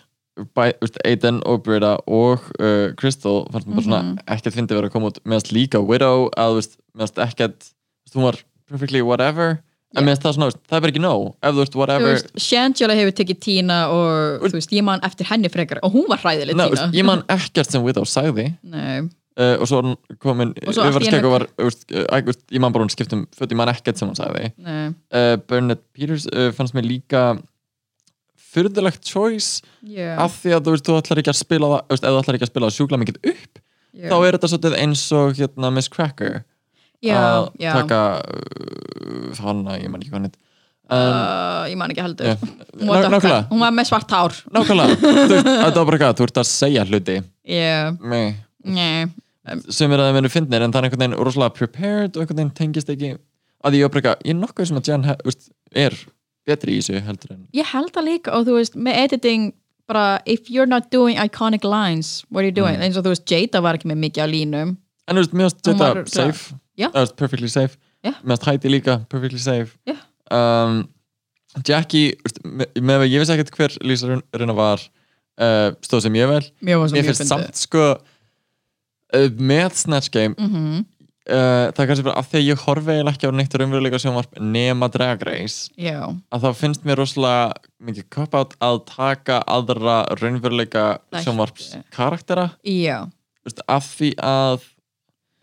C: bæ, veist, Aiden og Brita og uh, Crystal fannst mér bara svona
B: Mhm.
C: ekkert fyndið vera að koma út meðast líka Widow að veist, meðast ekkert veist, hún var perfectly whatever en meðast það svona, veist, það er bara ekki nóg ef þú veist
B: þú
C: whatever
B: veist, Shangela hefur tekið Tina og þú veist, ég man eftir henni frekar og hún var hræðileg
C: Nei,
B: Tina
C: veist, ég man ekkert sem Widow sagði
B: Nei,
C: uh, og svo var hún komin
B: Og svo allt í
C: yfirvarskegg
B: einu-
C: og var, uh, veist, uh, æ, veist, ég man bara hún skiptum föt, ég man ekkert sem hún sagði
B: nei,
C: uh, Bernard Peters uh, fannst mér líka fyrðulegt choice
B: já
C: af því að þú veist, þú ætlar ekki að spila það, þú veist, ef þú ætlar ekki að spila það sjúkla mikið upp
B: já.
C: þá er þetta svolítið eins og hérna Miss Cracker
B: Já,
C: að
B: já,
C: taka uh, hana, ég man ekki hvað hann heit
B: Uh, ég man ekki heldur
C: Já.
B: hún, var dökkklædd.
C: Ná- nákvæmlega.
B: hún var með svart hár
C: nákvæmlega, <laughs> þú veist, þetta var bara eitthvað þú ert að segja hluti
B: yeah.
C: Nei.
B: yeah.
C: sem er að það verður fyndnir en það er einhvern veginn rosalega prepared og einhvern veginn tengist ekki að ég upprækka, ég er nokkuð sem að Jan hef, veist, er betri í þessu heldur en
B: ég held það líka og þú veist með editing bara if you're not doing iconic lines what are you doing
C: Mm.
B: eins og þú veist Jada var ekki með mikið á línum
C: en þú veist, mér finnst
B: Hún
C: þetta
B: var-
C: safe
B: Já.
C: Þú veist, perfectly safe
B: Já.
C: mér finnst Heidi líka perfectly safe
B: Já.
C: um, Jackie þú veist, með, með ég vissi ekkert hver Lisa Run- Runa var uh, stóð sem ég vel
B: mér var svo
C: mér
B: mjög
C: finnst
B: fyndið
C: samt sko uh, með Snatch Game
B: Mhm.
C: uh, það er kannski bara af því að ég horfi eiginlega ekki á neitt raunveruleika sjónvarp nema Drag Race
B: já,
C: að þá finnst mér rosalega mikið cop-out að taka aðra raunveruleika
B: Þætti.
C: sjónvarps karaktera
B: já
C: af því að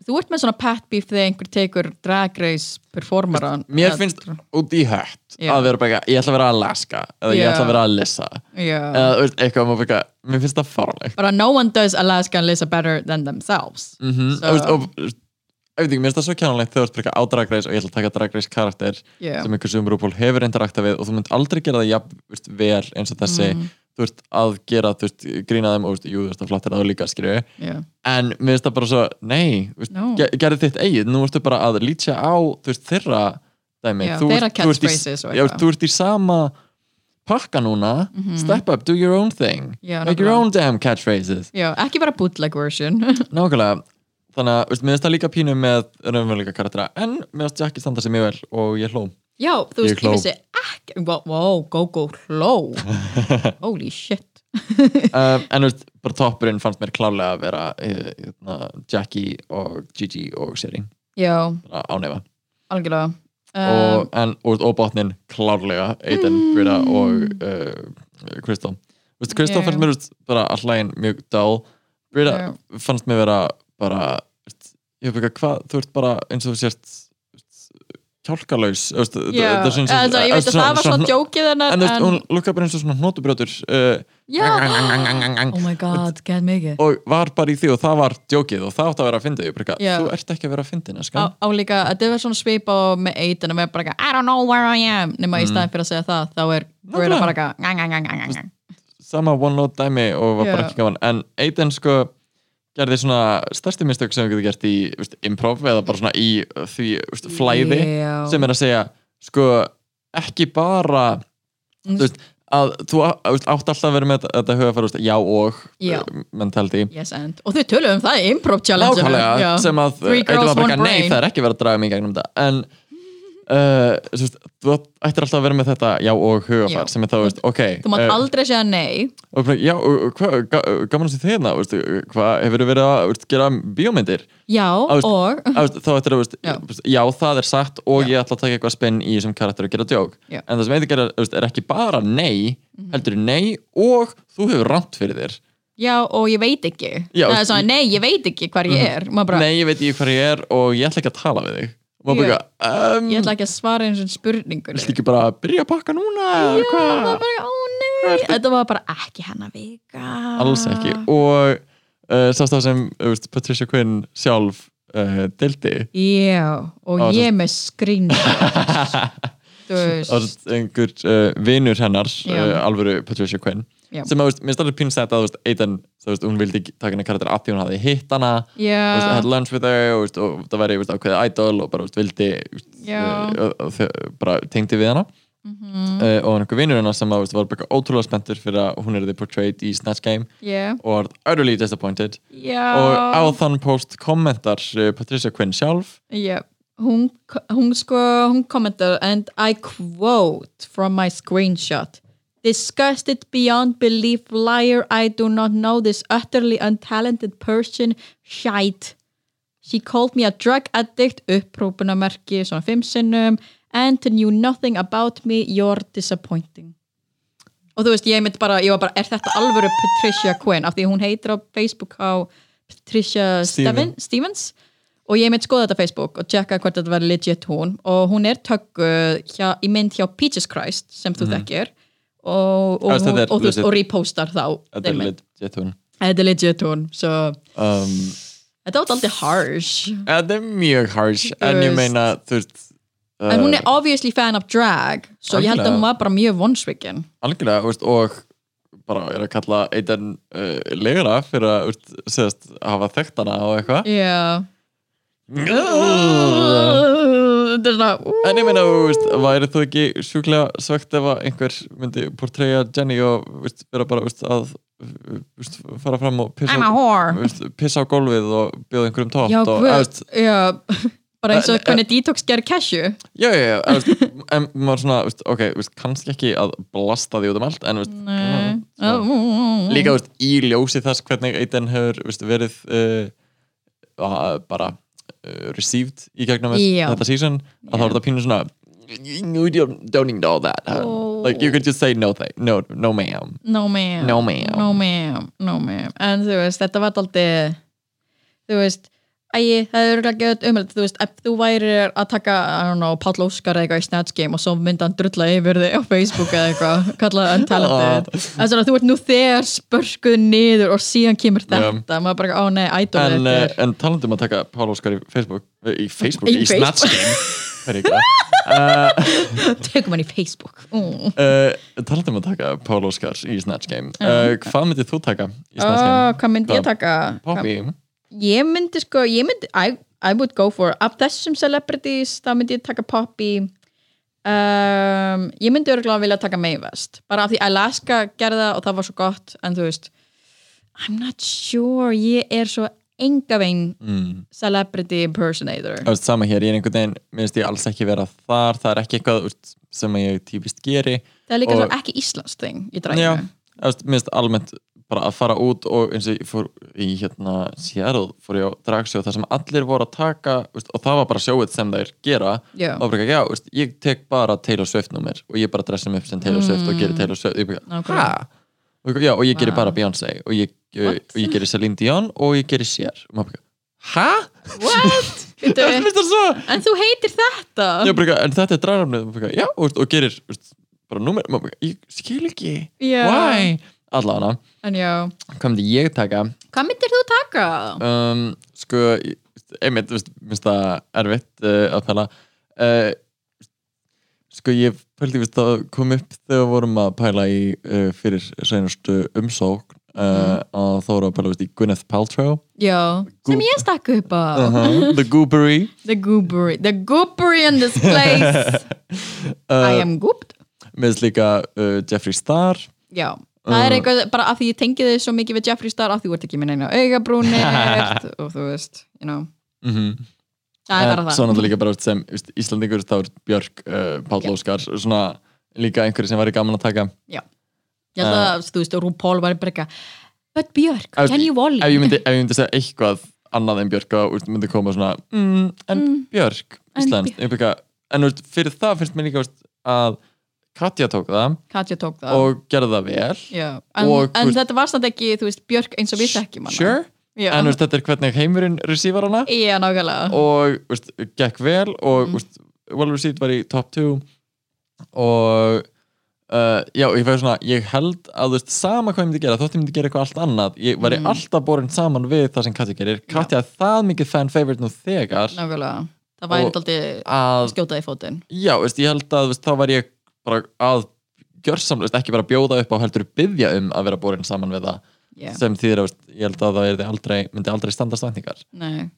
B: þú ert með svona pet beef þegar einhver tekur drag race performeran
C: mér finnst út í hött
B: Já.
C: að vera bara eitthvað, ég ætla að vera Alaska eða ég
B: Já.
C: ætla að vera Alyssa
B: já
C: eða þú veist, eitthvað, maður bara eitthvað, mér finnst það farlegt
B: bara no one does Alaska and Lisa better than themselves
C: mm -hmm.
B: Mhm. So-
C: so. og, og þú veist, ég veit ekki, mér finnst það svo kjánulegt þegar þú ert bara eitthvað á Drag Race og ég ætla að taka Drag Race karakter
B: yeah.
C: sem einhver sem Rúból hefur interakta við og þú mynd aldrei gera það jafn þú veist, ver eins og þessi
B: Mhm.
C: þú veist að gera, þú veist, grína þeim og þú veist, jú, þú veist, það flottir að þú líka skrifu
B: yeah.
C: en mér finnst það bara svo, nei þú veist,
B: No.
C: ge- gerðu þitt eigið, nú ertu bara að lítja á þú veist, þeirra dæmi
B: Já,
C: þú,
B: þeirra
C: ert- þú, ert í,
B: catchphrases og
C: já,
B: eitthvað. Mhm.
C: þú ert í sama pakka núna step up, do your own thing
B: Já,
C: make
B: nákvæmlega.
C: your own damn catchphrases
B: já, ekki bara bootleg version <laughs>
C: nákvæmlega, þannig að þú veist, mér finnst það líka pínu með raunveruleika karaktera en mér finnst Jackie standa sem ég vel og
B: <laughs>
C: ég hló
B: Já, þú
C: Ég
B: veist, ég
C: hló.
B: vissi ekki Wow, wow Gogo hló
C: <laughs>
B: Holy shit
C: um, en þú veist, bara toppurinn fannst mér klálega að vera eh, hérna, Jackie og Gigi og Siri
B: Já,
C: bara ánefa
B: algjörlega um, Mm.
C: og, en, og, og botnin klárlega Aiden, Brita og uh, Crystal Þú veist, Kristoff
B: Já.
C: fannst mér veist, bara allægin mjög dál Brita
B: Já.
C: fannst mér vera bara, veist, ég hef ekki hvað þú ert bara eins og þú sért veist, kjálkalaus veist, þetta-
B: Já,
C: þetta er svona-
B: Eða, ég veit að
C: svona-
B: það var svona djókið hennar
C: en,
B: en,
C: en, en hún lukkaði bara eins og svona hnotubrjótur uh,
B: já, oh my god, get mikið
C: og var bara í því og það var djókið og það átti að vera að fyndi ég bara,
B: Já.
C: þú ert ekki að vera að fyndi neskan
B: á, á líka, þetta var svona svipa á með eitin og við erum bara, eitthvað, I don't know where I am nema
C: Mm.
B: í staðin fyrir að segja það, þá er Greta bara, eitthvað, gang, gang, gang, gang, gang, gang.
C: sama one note dæmi og var
B: Já.
C: bara ekki gaman en Aiden sko gerði svona stærsti mistök sem þú getur gert í veist, improv eða bara svona í uh, því veist, flæði
B: Já.
C: sem er að segja sko ekki bara
B: Mm.
C: þú veist, að þú á- veist, átt alltaf að vera með þetta- þetta hugafæra veist, já og
B: Já.
C: uh, mentality
B: yes and, og þau töluðu um það í improv challenge
C: nákvæmlega sem að uh,
B: Three
C: Aiden
B: girls,
C: var bara
B: one
C: eitthvað, nei
B: brain."
C: það er ekki verið að draga mig í gegnum þetta en uh, þú veist, þú átt- ættir alltaf að vera með þetta já og
B: Já.
C: hugafæra sem er þá veist, ok
B: þú mátt
C: uh,
B: aldrei segja nei
C: og bara, já, og- og hvað, ga- gaman að sé þið hérna veistu, hvað hefur verið að veistu, gera bíómyndir
B: já,
C: veist-
B: og
C: Að, veistu, þá eftir að, veistu,
B: Mhm. Já.
C: veistu, já, það er satt og ég ætla að taka eitthvað spinn í þessum karakter og gera djók
B: Já. Mhm.
C: en það sem eitthvað gera, veistu, er ekki bara nei heldur nei og þú hefur rámt fyrir þér
B: já, og ég veit ekki
C: Já, Mhm.
B: það er svona, nei, ég veit ekki hvar ég er maður bara,
C: nei, ég veit ekki hver ég er og ég ætla ekki að tala við þig og maður
B: Já.
C: bara, um,
B: ég ætla ekki að svara eins og spurningur
C: viltu ekki bara byrja að pakka núna eða hvað?
B: bara, ó nei, þetta var bara ekki hennar vika
C: alls ekki og uh, sást það sem uh, veist, Patricia Quinn sjálf uh, deildi
B: Já, og
C: Á,
B: ég með
C: <laughs>
B: skrýnda Þú
C: Það
B: veist
C: var einhver uh, vinur hennar,
B: Já.
C: uh, alvöru Patricia Quinn
B: Já.
C: sem að, veist, mér stærður pínst þetta að, veist, Aiden, það, veist, hún vildi ekki taka henni karakter af því hún hafði hitt hana
B: Já.
C: veist, had lunch with her og, veist, og það væri veist, ákveðið idol og bara veist, vildi veist,
B: Já. Mhm.
C: uh, og- og þau bara tengdi við hana uh, og hann einhver vinur hennar sem að, veist, var bara ótrúlega spenntur fyrir að hún er þið portrayed í Snatch Game
B: Já,
C: og var utterly disappointed og á
B: já,
C: þann post kommentar uh, Patricia Quinn sjálf
B: já. Hún, hún sko, hún kommentar and I quote from my screenshot Disgusted beyond belief liar I do not know this utterly untalented person shite She called me a drug addict upprópunamerki svona fimm sinnum and knew nothing about me you're disappointing og þú veist, ég myndi bara, ég var bara, er þetta alvöru Patricia Quinn, af því hún heitir á Facebook á Patricia Steven.
C: Steven.
B: Stevens og ég myndi skoða þetta á Facebook og tjekka hvort þetta var legit hún og hún er tökkuð hjá, í mynd hjá Peaches Christ sem þú þekkir og, og,
C: Já, Mhm. þetta
B: hún,
C: er
B: og, þú veist,
C: legit.
B: og repostar þá
C: þetta
B: þeim
C: er
B: mynd.
C: legit hún
B: þetta er legit hún so,
C: um,
B: þetta var alltaf harsh
C: Þetta er mjög harsh en ég
B: veist.
C: meina þú veist
B: en hún er obviously fan of drag svo ég held að
C: Algjörlega.
B: hún var bara mjög vonsvikin
C: algjörlega þú veist, og bara er að kalla eitan uh, legra fyrir að þú veist, segðast, hafa þekkt hana og eitthvað
B: já
C: en
B: þetta er svona ú,
C: ég meina þú veist, væri þú ekki sjúklega svegt ef að einhver myndi portreyja Jenny og þú veist, vera bara þú veist, að þú veist, fara fram og pissa,
B: I'm a whore
C: þú veist, pissa á gólfið og bjóða einhverjum tótt
B: já,
C: og, þú
B: guð,
C: veist,
B: já bara eins og hvernig detox gerir cashew
C: já, já, já, þú veist, <laughs> en maður svona þú veist, ok, þú veist, kannski ekki að blasta því út um allt en þú veist,
B: Nei.
C: svona-
B: Ó, ú, ú, ú.
C: líka veist, í ljósi þess hvernig Aiden hefur veist, verið uh, að- bara uh, received í gegnum þess-
B: Já.
C: þetta season að þá er þetta pínu svona you don't, don't need all that huh?
B: Oh.
C: like you could just say no, thank, no, no ma'am
B: no ma'am
C: No, ma'am.
B: no ma'am no ma'am en þú veist þetta var alltaf þú veist Æi, það er örugglega ekki umhald, þú veist, ef þú værir að taka, I don't know, Páll Óskar eða eitthvað í Snatch Game og svo myndi hann drulla yfir þig á Facebook eða eitthvað, <laughs> kalla það untalented. Það er svona, þú ert nú þegar spörskuð niður og síðan kemur þetta, maður bara, ó nei, idol
C: en,
B: þetta
C: uh,
B: er.
C: en talandum að taka Pál Óskar í Facebook eh, í Facebook,
B: Í
C: í, í Snatch
B: <laughs>
C: Game Það er ekki hvað.
B: Tökum hann í Facebook. Mm.
C: Eh, talandum að taka Pál Óskar í Snatch Game uh, hvað myndið þú taka í
B: Ó,
C: Snatch Game?
B: Ah, hvað myndi ég taka?
C: Poppy
B: Ég myndi sko, ég myndi I, I would go for, af þessum celebrities þá myndi ég taka Poppy um, ég myndi örgulega vilja taka Mae West, bara af því Alaska gerði það og það var svo gott, en þú veist I'm not sure ég er svo enga veginn
C: Mm.
B: celebrity impersonator
C: Þú veist, sama hér, ég er einhvern veginn minnst ég alls ekki vera þar, það er ekki eitthvað úst, sem ég típist geri
B: það er líka
C: og-
B: svo ekki Íslands þing í
C: já,
B: drækinu
C: þú veist, minnst almennt bara að fara út og eins og ég fór í hérna Seattle, fór ég á dragsjó þar sem allir voru að taka úst, og það var bara sjóið sem þeir gera
B: Já.
C: og bara, eitthvað, já, úst, ég tek bara Taylor Swift númer og ég bara dressum upp sem Taylor Swift og gerir Taylor Swift, ég bara,
B: Mm. Nákvæmlega.
C: hæ? og, já, og ég gerir
B: Vá.
C: bara Beyoncé og ég, uh,
B: What?
C: og ég gerir Celine Dion og ég gerir Cher og maður bara, hæ?
B: What?
C: Það
B: Bíddu,
C: finnst það svo
B: en þú heitir þetta
C: já, bara, eitthvað, en þetta er dragnafnið og, maður bara, já, og, og gerir veist, bara númer maður bara, ég skil ekki
B: Já.
C: why? allavega,
B: En já,
C: hvað myndi ég taka
B: hvað myndir þú taka?
C: um, sko ég- einmitt, veist, minnst það erfitt uh, að pæla uh, sko ég pældi veist, að kom upp þegar við vorum að pæla í uh, fyrir sænustu umsókn uh,
B: Mm.
C: að þá vorum við að pæla veist, í Gwyneth Paltrow
B: Já, sem ég stakk upp á Uh-huh.
C: The Goobery
B: The goobery, the goobery in this
C: <laughs>
B: place I am gooped
C: með Eh, líka uh, Jeffree Star
B: Já, það
C: Uh.
B: er eitthvað bara af því ég tengi þau svo mikið við Jeffree Star af því þú ert ekki með neina
C: <laughs>
B: augabrúnir og þú veist, you know Mm-hmm. Það er bara það
C: svo náttúrulega Eh, líka bara veist, sem veist, Íslandingur þá er Björk uh, Páll Óskar svona líka einhverju sem væri gaman að taka
B: Já, ég held að þú veist, RuPaul var bara eitthvað But Björk,
C: Eh. Ef-
B: can you volley?
C: ef ég myndi, ef ég myndi segja eitthvað annað en Björk og úst, myndi koma svona mm, en Björk,
B: en
C: Ísland en, Björk. en úst, fyrir það finnst mér líka úst, að Katja tók það
B: Katja tók það
C: og gerði það vel
B: Já, en,
C: og, þú
B: en
C: veist-
B: þetta var samt ekki, þú veist, Björk eins og við þekkjum hana
C: sure,
B: Já,
C: en úst, þetta er hvernig heimurinn receiver hana
B: já nákvæmlega
C: og úst, gekk vel og mm. úst, well received var í top 2 og Uh, já, ég fæði svona, ég held að þú veist, sama hvað ég myndi gera, þótt ég myndi gera eitthvað allt annað ég væri alltaf borin saman við það sem Katja gerir Katja er það mikið fan favorite nú þegar
B: Nákvæmlega, það væri
C: Og-
B: daldið
C: að,
B: skjóta í fótinn
C: já, veist, ég held að veist, þá var ég bara að gjörsamlega, veist, ekki bara bjóða upp á heldur byggja um að vera borin saman við það
B: yeah.
C: sem þýðir að veist, ég held að það yrði aldrei, myndi aldrei standa standingar
B: Nei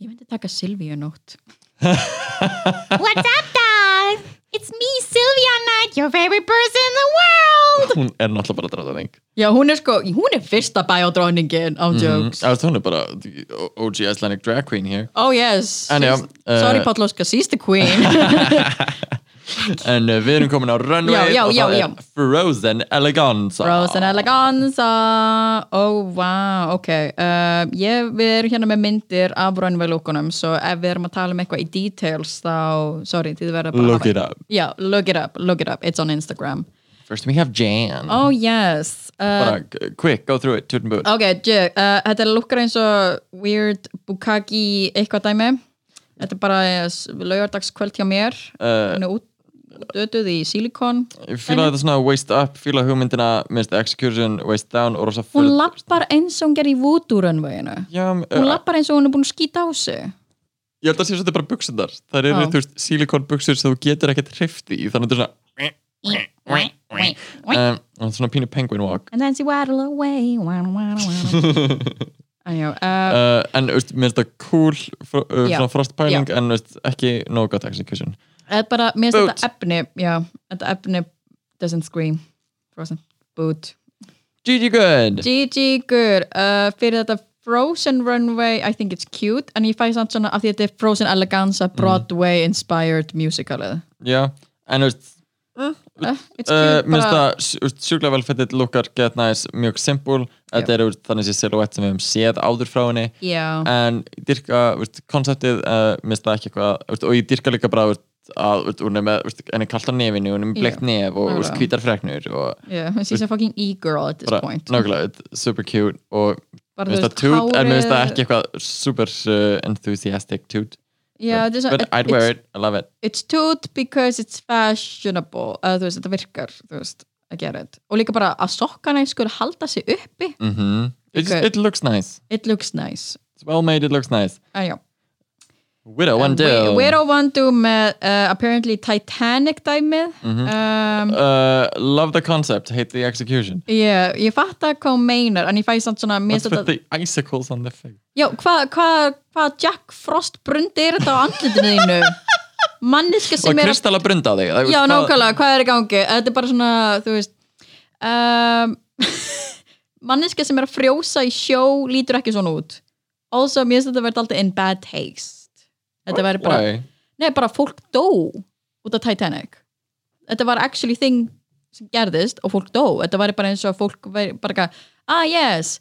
B: Ég myndi taka Silvíu <laughs> nótt What's up dog? It's me Silvíu night, your favorite person in the world
C: hún er náttúrulega bara dráðaning
B: Já, hún er sko, hún er fyrsta bæjadráningin á
C: Mhm.
B: jokes
C: hún er bara uh, the OG Icelandic drag queen hér
B: Oh yes
C: En já,
B: she's- Sorry
C: eh,
B: Páll Óskar, she's the queen
C: <laughs> en uh, við erum komin á
B: Já,
C: runway
B: já,
C: og
B: já,
C: það
B: já.
C: er Frozen Eleganza
B: Frozen Eleganza oh wow, ok uh, ég, við erum hérna með myndir af runway lookunum, svo ef við erum að tala um eitthvað í details þá, sorry, þið verða bara að
C: look
B: hafa-
C: it up
B: já, look it up, look it up, it's on Instagram
C: first we have Jan
B: e- oh yes uh,
C: bara uh, quick, go through it, toot and boot
B: ok, J- uh, þetta lukkar eins og weird bukaki eitthvað dæmi þetta er bara eh, laugardagskvöld hjá mér
C: Uh,
B: hún er út, dötuð í silikon
C: Ég fíla þetta svona waist up, fíla hugmyndina minnst execution, waist down og rosa
B: hún
C: furð-
B: lappar eins og hún gerir í voodoo runwayinu
C: Já,
B: hún
C: uh,
B: lappar eins og hún er búin að skýta á sig
C: ég held að sé að þetta er bara buksundar það eru,
B: Já.
C: þú veist, silikonbuksur sem þú getur ekkert hrifti í, þannig að þetta er svona um, og svona pínu penguin walk
B: and then she waddle away waddle, waddle, waddle.
C: <laughs>
B: Æjá, uh,
C: uh, en, þú veist, minnst það cool fr uh,
B: Já.
C: svona frostpæling, en, þú veist, ekki nóg gott execution
B: það er bara, mér finnst
C: Boot.
B: þetta efni já, þetta efni doesn't scream Frozen Boot
C: Gigi Good
B: GG Gur uh, fyrir þetta Frozen Runway I think it's cute en ég fæ samt svona af því þetta er Frozen Eleganza
C: Mm.
B: Broadway inspired musicalið
C: Já, en, þú veist,
B: uh, it's
C: uh,
B: cute
C: minnst
B: bara,
C: það sjúklega vel fættið lukkar get nice, mjög simple þetta er þannig sé silhouette sem við höfum séð áður frá henni
B: já,
C: en dyrka veist, konceptið uh, minnst það ekki eitthvað veist, og ég dyrka líka bara veist, að veist, hún er með, veist, henni kallt á nefinu hún er með
B: Já,
C: blekt nef og veist,
B: nákvæmlega.
C: hvítar freknur og
B: yeah, she's a fucking e-girl at this
C: bara
B: point
C: nákvæmlega, þetta er super cute og
B: Bara, þú
C: minnst það
B: veist,
C: toot, en minnst það
B: hárið-
C: ekki eitthvað super uh, enthusiastic toot
B: yeah,
C: but,
B: this-
C: but I'd
B: it's-
C: wear it, I love it
B: it's toot because it's fashionable uh, þú veist, þetta virkar þú veist, I get it og líka bara að sokkana skulle halda sig uppi
C: mm it, just,
B: Good.
C: it looks nice,
B: it looks nice
C: it's well made, it looks nice
B: en já
C: Widow and Dill
B: Um, Widow Wando með uh, apparently Titanic dæmið
C: Mhm.
B: um,
C: uh, love the concept, hate the execution
B: yeah, ég fatt að hvað hún meinar en ég fæ samt svona mér
C: let's
B: finnst þetta-
C: put the icicles on the face
B: já, hvað hva, hva Jack Frost brundi er þetta á andlitinu
C: <laughs>
B: þínu manniska
C: og
B: sem er að
C: Kristalla brunda á þig það-
B: Já,
C: hvað-
B: nákvæmlega, hvað er í gangi? Þetta er bara svona, þú veist um, <laughs> Manneska sem er að frjósa í sjó lítur ekki svona út Also, mér finnst þetta verði alltaf in bad taste Þetta verði bara,
C: Why?
B: nei, bara fólk dó út af Titanic Þetta var actually thing sem gerðist og fólk dó Þetta var bara eins og fólk veri, bara eitthvað, ah yes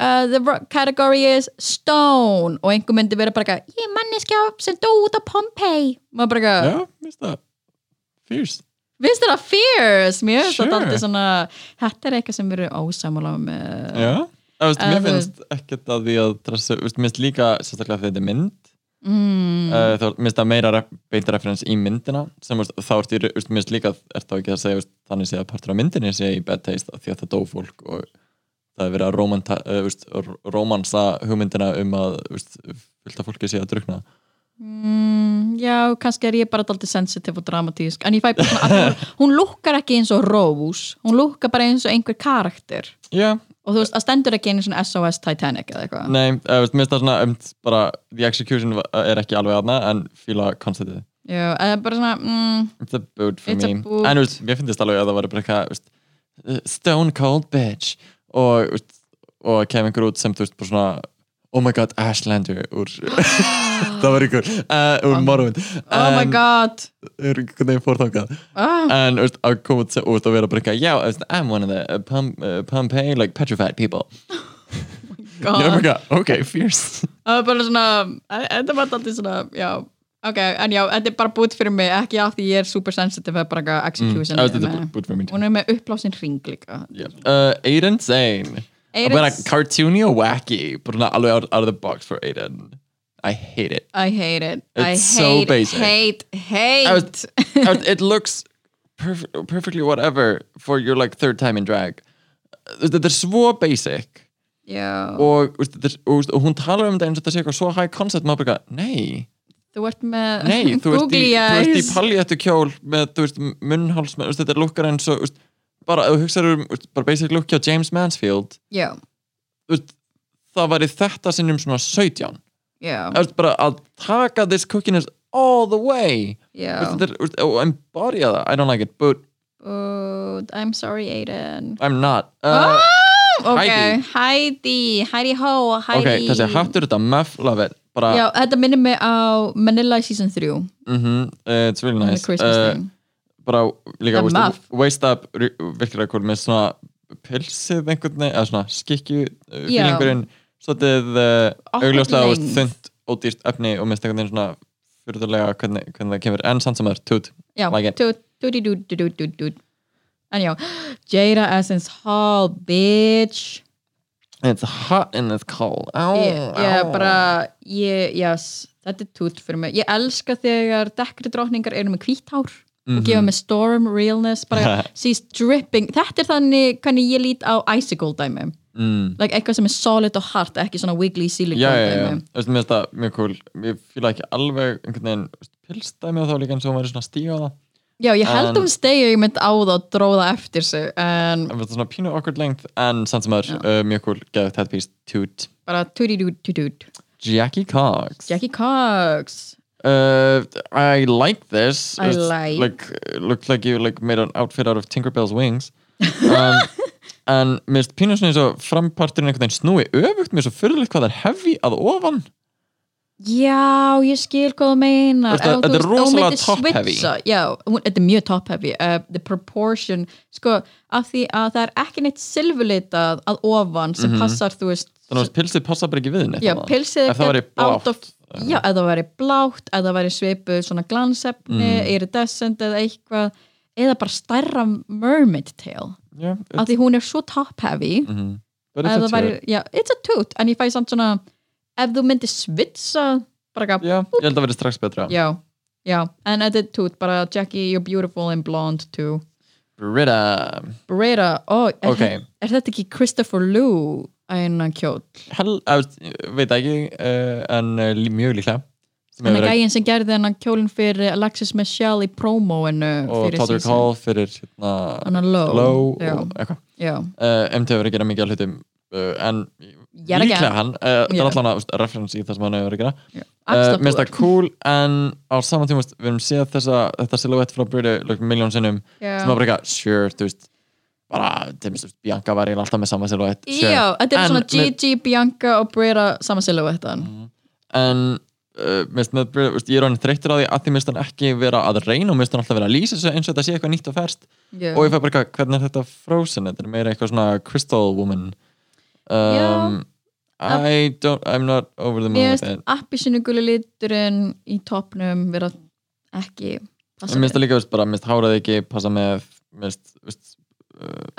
B: Uh, the ro- category is stone og einhver myndi vera bara eitthvað ég er manneskja sem dó út af Pompeii maður bara eitthvað,
C: Já, minnst það Fierce
B: Finnst þér það fierce? Mér finnst
C: Sure.
B: það alltaf svona, þetta er eitthvað sem við erum ósamála með.
C: Já, það, veist,
B: Eh,
C: mér
B: þú
C: finnst ekkert að því að tressa, veist, mér finnst líka sérstaklega þegar þetta er mynd mm. uh, þá mér finnst það meira ref, beint referens í myndina sem veist, þá ert í, ra- veist, mér finnst líka ert þá ekki að segja veist, þannig sé að partur af myndinni sé í bad taste af því að það dó fólk og það er verið að rómanta, uh, veist, r- rómansa hugmyndina um að veist, fullt af fólki sé að drukna
B: Mm, já, kannski er ég bara alltaf sensitive og dramatísk, en ég fæ bara svona að hún, hún lukkar ekki eins og Rose, hún lukkar bara eins og einhver karakter.
C: Já,
B: Og þú veist, það stendur ekki einu svona SOS Titanic eða eitthvað.
C: nei, uh, veist, mér finnst það svona um, bara, the execution va- er ekki alveg aðna en fíla konceptið
B: Já, eða bara svona, mm,
C: It's a boot for
B: It's a
C: me
B: boot.
C: En veist, mér finnst alveg að það var bara eitthvað veist, uh, Stone cold bitch og, veist, og kemur einhver út sem þú veist bara svona Oh my god, Ashlander úr, <laughs> það var ykkur uh, úr Morrowind
B: Ah. oh my
C: En-
B: god,
C: er einhvern veginn fórþangað
B: Ah.
C: en veist, að koma út út og vera bara eitthvað já, veist, I'm one of the uh, Pom uh, Pompeii like petrified people
B: god.
C: ég er bara eitthvað, ok,
B: <laughs>
C: fierce
B: það var bara svona, e- þetta var alltaf svona, já, ok, en já, þetta er bara búið fyrir mig, ekki af því ég er super sensitive, það er bara eitthvað execution.
C: Það Mm, er
B: með-
C: búið fyrir mér
B: hún er með upplásin ring líka.
C: Uh, Aiden's Zane.
B: Aiden's-
C: Bara cartoony og wacky, bara svona alveg out, out of the box for Aiden. I hate
B: <laughs>
C: it.
B: I hate it. I
C: It's so
B: hate,
C: basic.
B: hate, hate. <laughs>
C: I was- I was- it looks perf perfectly whatever for your like third time in drag. Uh, Þetta er svo basic
B: já.
C: og, veist, þetta er- og, veist, og hún talar um þetta eins og þetta sé eitthvað svo high concept maður bara, eitthvað, nei,
B: Þú ert með <laughs>
C: nei þú ert í,
B: googly
C: þú ert í
B: eyes.
C: paljettu kjól með þú veist, munnháls með, veist, þetta er lukkar eins og veist, bara, ef þú hugsaður um veist, bara basic look hjá James Mansfield
B: Já,
C: þú veist, það væri þetta sinnum svona 17
B: já,
C: Þú veist, bara að taka this cookiness all the way
B: já
C: Þú veist, þetta er- þú veist, oh, og embody það, I don't like it but
B: Út, I'm sorry Aiden
C: I'm not
B: Ah,
C: uh,
B: Ok,
C: Heidi.
B: Heidi, Heidi Ho Heidi
C: ok, þessi hattur þetta, muff, love it bara,
B: Já, þetta minnir mig á uh, Manila í season 3
C: mhm, uh, it's really
B: The
C: nice
B: Christmas
C: Uh,
B: thing
C: bara líka
B: The
C: veist,
B: muff.
C: waist up re- virkir að koma með svona pilsið einhvern veginn, eða svona skikju uh,
B: Já.
C: fílingurinn, svolítið uh,
B: Opna
C: augljóslega þú veist,
B: lengd.
C: þunnt og dýrt efni og minnst einhvern veginn svona fyrðulega hvernig, hvernig það kemur, en samt sem það er tút
B: Já,
C: like it.
B: dú- dú- dú- dú- dú- dú- dú. En já, <gasps> Jada Essence Hall, bitch
C: It's hot and it's cold Ow,
B: Ég ég
C: ow.
B: bara, ég, yes Þetta er tút fyrir mig. Ég elska þegar dekkri drókningar eru með hvítár
C: Mhm.
B: og gefa mig storm realness
C: <laughs>
B: bara, she's dripping, þetta er þannig hvernig ég lít á icicle dæmi
C: mm.
B: like, eitthvað sem er solid og hart, ekki svona wiggly silicone
C: já, já, já,
B: dæmi
C: Þú veist, mér finnst það mjög cool ég fíla ekki alveg einhvern veginn þú veist, pilsdæmi og þá líka eins og hún væri svona að stíga á það
B: já, ég held
C: En-
B: um stegi ég mynd á það og dróða eftir sig en
C: en það er svona pínu awkward length en samt sem það er uh, mjög cool, geðið headpiece toot
B: bara tudidudududu
C: Jackie Cox
B: Jackie Cox
C: uh, I like this
B: I
C: It's
B: like.
C: like looked like you like made an outfit out of Tinkerbell's wings
B: <laughs>
C: um, en mér finnst pínu svona eins og framparturinn einhvern veginn snúi öfugt mér er svo fyrirlegt hvað það er heavy að ofan
B: já, ég skil hvað þú meinar
C: Þetta-
B: Ef þú
C: þetta
B: veist-
C: er
B: ef hún
C: rosalega
B: myndi
C: top heavy.
B: switcha- já, hún- þetta er mjög top heavy uh, the proportion, sko af því að það er ekki neitt silfurlitað að ofan sem passar, þú veist
C: Mhm. þannig að pilsið passa bara ekki við neitt
B: Já,
C: annað.
B: pilsið
C: Ef það væri
B: out
C: blátt
B: of- Já, ef það væri blátt, ef það væri svipuð svona glansefni,
C: Mhm.
B: iridescent eða eitthvað, eða bara stærra mermaid tail,
C: yeah,
B: af því hún er svo top heavy
C: Mm, Mhm. but
B: ef
C: it's a
B: það væri,
C: toot.
B: já, it's a toot en ég fæ samt svona, ef þú myndir svitsa, bara gaf
C: Já, ég held að verði strax betra
B: já, já, en þetta er toot, bara Jackie, you're beautiful and blonde too
C: Britta
B: Brera, ó, er,
C: Ok.
B: er þetta ekki Christopher Lou einan kjóll,
C: Hel, að, Veit ekki uh, En uh, lí- mjög líklega Sem
B: hann
C: hefur
B: er
C: verið-
B: gæinn sem gerði hennan kjólinn fyrir Alexis Michelle í promóinu
C: Og
B: fyrir
C: Totter
B: season.
C: Call fyrir hérna,
B: Hann er low. Já.
C: og eitthvað
B: Já,
C: uh, MT hefur verið að gera mikið af hlutum uh, En
B: Yet again.
C: líklega hann uh, Það
B: Já.
C: er allan að referens í það sem hann hefur verið að gera
B: já.
C: Uh,
B: Afsláttur.
C: Mér finnst það cool en á saman tíma veist, við höfum séð þessa, þetta silhouette frá Brita like, miljón sinnum
B: Já.
C: sem var bara eitthvað sure, þú veist bara, til dæmis, þú veist, Bianca var eiginlega alltaf með sama silhouette sure.
B: Já, þetta er
C: En Mm.
B: svona
C: með-
B: Gigi, Bianca og Brera saman silhouettan
C: en uh, mist, með, Brie- veist, ég er hann þreyttur á því að því mist hann ekki vera að reyna og mist hann alltaf vera að lýsa þessu eins og þetta sé eitthvað nýtt og ferst
B: Já.
C: og ég fæ bara eitthvað, hvernig er þetta frozen þetta er meira eitthvað svona crystal woman um, I don't, I'm not over the moon
B: Mér
C: with
B: finnst
C: it
B: appisinu guli liturinn í topnum vera ekki Passa
C: Mér finnst það líka, veist, bara, mér finnst hárað ekki passa með, mér finnst, veist,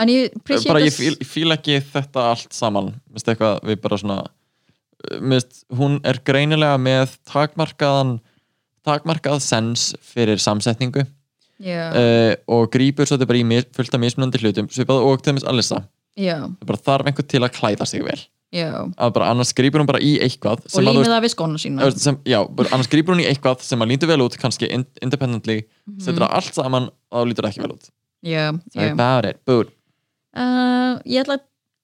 B: En ég appreciate
C: bara ég
B: us-
C: fíl, ég fíla ekki þetta allt saman, mér finnst eitthvað við bara svona, uh, mér finnst, hún er greinilega með takmarkaðan, takmarkað sens fyrir samsetningu
B: Já,
C: uh, og grípur svo þetta bara í mis, fullt af mismunandi hlutum, svipað og til dæmis Alissa,
B: já,
C: það bara þarf einhver til að klæða sig vel,
B: já
C: að bara annars grípur hún bara í eitthvað
B: Og
C: að, þú
B: límið
C: veist,
B: það við skóna sína
C: Þú veist, sem, já, bara annars grýpur hún í eitthvað sem að lítur vel út, kannski in independently setur það allt saman og þá lítur það ekki vel út
B: Mhm. Já,
C: Sorry
B: já
C: about it, boo
B: Uh, Ég ætla að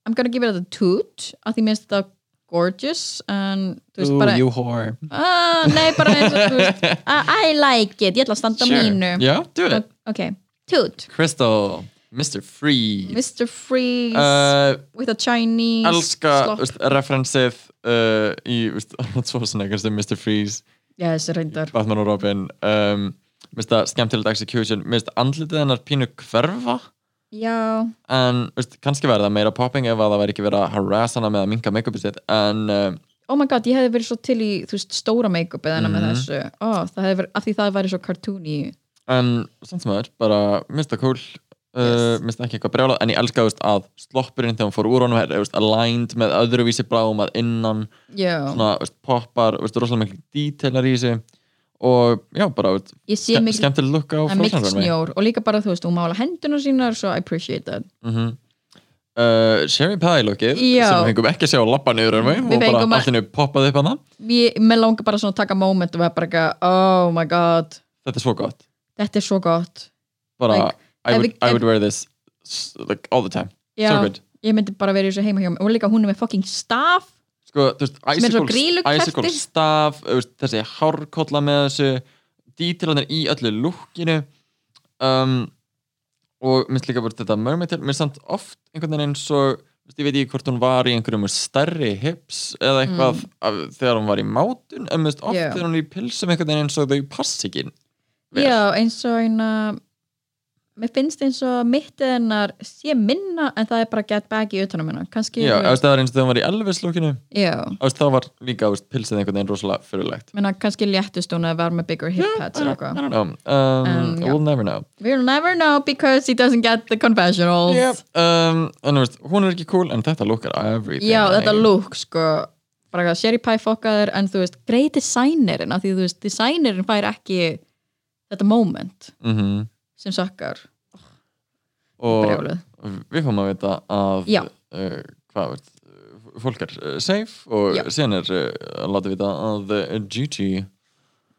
B: I'm gonna give it a toot að því minnst þetta gorgeous en þú veist bara
C: you whore
B: Ah, Nei, bara eins og þú veist <laughs> I I like it, ég ætla að standa á mínu
C: yeah, do it
B: Ok, toot
C: Crystal, Mr. Free
B: Mr. Freeze
C: uh,
B: with a Chinese
C: Eh, elska
B: slop.
C: veist, referensið uh, í veist, <laughs> Arnold Schwarzenegger sem Mr. Freeze
B: Já, þessi reyndar
C: Batman og Robin um, minnst það skemmtilegt execution minnst andlitið hennar pínu hverfa
B: Já,
C: en veist, kannski verða meira popping ef að það væri ekki verið að harass hana með að minka make-upið sitt en um,
B: oh my god, ég hefði verið svo til í þú veist, stóra make-up eða mm með
C: Mhm.
B: þessu Ó, það hefði verið, af því það væri svo cartoony
C: en samt sem það er bara mista cool uh,
B: Yes.
C: mista ekki eitthvað brjálað en ég elska veist, að sloppurinn þegar hún fór úr honum er veist, aligned með öðruvísi bráum að innan
B: Já,
C: svona veist, poppar, veist, rosalega mikil detailar í sig og já bara veist,
B: ég sé
C: ske-
B: mikil,
C: skemmtileg look á
B: það er mikil
C: frásagnarmi
B: snjór og líka bara, þú veist, hún mála hendunar sínar svo I appreciate that
C: mm uh, Sherry Pie lookið
B: Já.
C: sem við fengum ekki að sjá lappa niður en
B: Við
C: og bara
B: fengum að-
C: allt henni poppaði upp hana
B: ég, Mér langar bara svona að taka moment og vera bara ekki, oh my god
C: þetta er svo gott
B: þetta er svo gott
C: bara
B: Like,
C: I,
B: ef
C: would,
B: við-
C: I
B: ef-
C: would wear this s- like, all the time
B: Já,
C: so good
B: ég myndi bara vera í þessu heima hjá mér og líka hún er með fucking staff
C: sko, þú veist,
B: er svo
C: Icicle,
B: grýlukjaftur.
C: Icicle staf þú veist, þessi hárkolla með þessu dítilanir í öllu lúkinu um, og minnst líka bara þetta mermaid tail, mér samt oft einhvern veginn eins og þú veist, ég veit ekki hvort hún var í einhverjum stærri hips eða eitthvað af, þegar hún var í mátun en minnst oft
B: Mm. Já.
C: þegar hún er í pilsum einhvern veginn eins og þau passi ekki vel.
B: Já, eins og eina mér finnst eins og mittið hennar sé minna en það er bara get back í utanum hennar kannski, þú
C: Já, þú
B: veist,
C: veist, það var eins og þegar hún var í Elvis lúkinu
B: já
C: þá var líka þú veist, pilsið einhvern veginn rosalega fyrirlegt
B: menna kannski léttust hún að vera með bigger
C: <gasps>
B: hip pads eða
C: I
B: eitthvað
C: don't know, um,
B: En, já.
C: we'll never know
B: we'll never know because he doesn't get the confessionals
C: yep. um, en þú veist, hún er ekki cool en þetta lookar everything
B: já þetta
C: Nei.
B: look sko bara eitthvað sherry pie fokkaður en þú veist grei designerin af því þú veist designerin fær ekki þetta moment
C: Mhm.
B: sem sökkar
C: og
B: brjáluð
C: við fáum að vita að
B: Já.
C: uh, hvað veit, fólk er uh, safe og
B: Já.
C: síðan er uh, að láta vita að uh, Gigi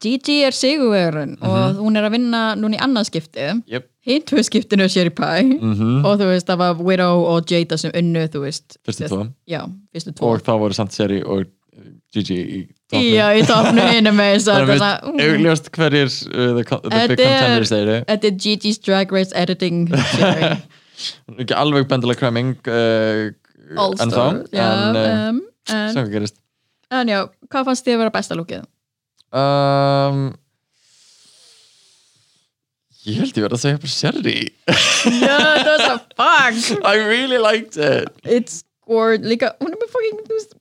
B: Gigi er sigurverun og hún er að vinna núna í annað skiptið
C: Mhm. yep.
B: hinn tvö skiptinu er sherry pie
C: mm -hmm.
B: og þú veist það var Widow og Jada sem unnu þú veist
C: fyrstu
B: þess-
C: tvo
B: já fyrstu tvo
C: og þá voru samt Seri og uh, Gigi í toppnum.
B: já í topnu
C: <laughs>
B: hinn með þess að þetta er
C: þannig að við
B: svona, mm,
C: augljóst hverjir uh, the, co- the big
B: Þetta er-
C: contenders þeir eru
B: þetta er Gigi's Drag Race
C: <laughs>
B: editing series.
C: ekki alveg bendilega cramming uh,
B: All
C: en þá
B: Star já,
C: en uh,
B: um, en,
C: sem hvað gerist
B: en já, hvað fannst þið að vera besta lúkið?
C: um, Ég held ég verið að segja bara Sherry <laughs>
B: Já, það var svo fuck
C: I really liked it
B: It's gorgeous, líka, hún er með fucking þú veist,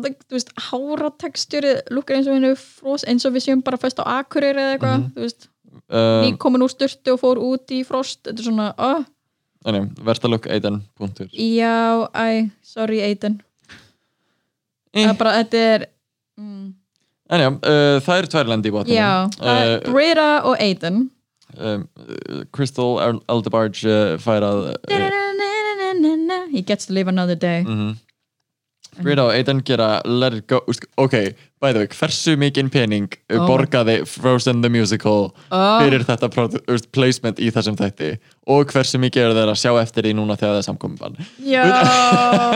B: like, þú veist háratextjúri lúkar eins og hennu frost eins og við séum bara fyrst á akureyri eða eitthvað þú veist,
C: um,
B: ný komin úr styrtu og fór út í frost, þetta er svona oh,
C: nei, Vertalok Eiden punktur
B: já, æ, sorry Aiden það er bara, þetta er mm,
C: En já, Eh, uh, það eru tvær lendi í bóttinu
B: já, það er
C: uh,
B: Brita og Aiden
C: um, uh, Crystal El- Eldebarge uh, fær að uh,
B: He gets to live another day
C: mm Brita og Aiden gera Let it go Úst, Ok, by the way, hversu mikinn pening uh,
B: Oh.
C: borgaði Frozen the Musical
B: Oh.
C: fyrir þetta produ- úst, placement í þessum þætti og hversu mikið eru þeir að sjá eftir því núna þegar það er samkomin
B: Yo,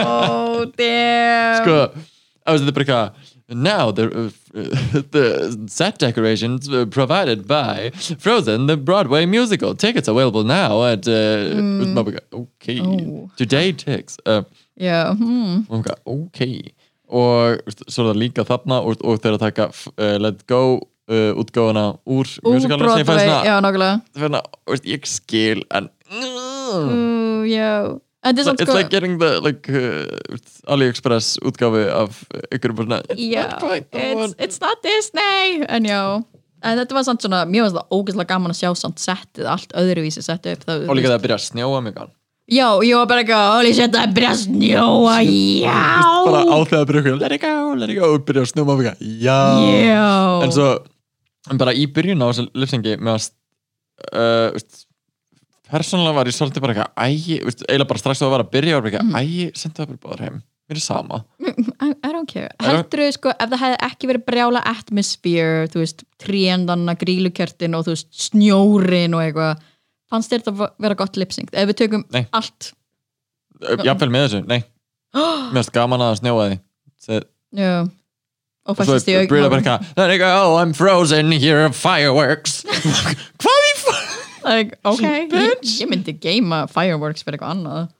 C: <laughs>
B: damn
C: sko, I was at the breaker. er Now the <laughs> uh, the set decorations were provided by Frozen, the Broadway musical. Tickets available now at uh, oh my God, okay
B: Mm. Oh.
C: today ticks. Uh,
B: Já, hmm.
C: oh my God, okay. Og svo er það líka þarna og, og þeir að taka uh, Let Go uh, útgáfuna úr
B: Úr
C: musicalnum sem ég fæði
B: Broadway,
C: svona,
B: já, nákvæmlega
C: svona veist, ég skil en mm,
B: Ú, Já, en þetta er samt
C: It's
B: sko
C: like getting the like, uh, AliExpress útgáfi af ykkur bara svona,
B: Já,
C: not quite the
B: it's,
C: one.
B: it's not Disney En já, en þetta var samt svona, mjög var það ógeðslega gaman að sjá samt settið, allt öðruvísi settið upp það,
C: og líka það að byrja að snjóa mig gal
B: já, ég var bara eitthvað, holy shit, það er byrjað að snjóa
C: bara á
B: já,
C: þegar að byrja okkur, let it go, let it go og byrja að snjóa mig gal, já
B: já
C: en svo, en bara í byrjun á þessu lipsengi með að uh, veist, persónulega var ég svolítið bara eitthvað, æ, veist, eiginlega bara strax þá það var að byrja, var bara
B: Mm.
C: eitthvað, æ, sendu það bara báður heim mér er sama,
B: <laughs> I, I don't care, heldur þau sko ef það hefði ekki verið brjála atmosphere þú veist, tríendanna, grílukertin og þú veist, snjórin og eitthvað fannst þér þetta vera gott lipsynkt ef við tökum
C: Nei.
B: allt
C: uh, jafnvel með þessu,
B: <gasps>
C: nei mér erst gaman að það snjóaði Þe-
B: já. og
C: og svo
B: fættist því
C: er Brita bara eitthvað, let it go, I'm frozen here are
B: <laughs>
C: fireworks hvað í fa...
B: like, ok, ég,
C: Bitch.
B: ég myndi geima fireworks fyrir eitthvað annað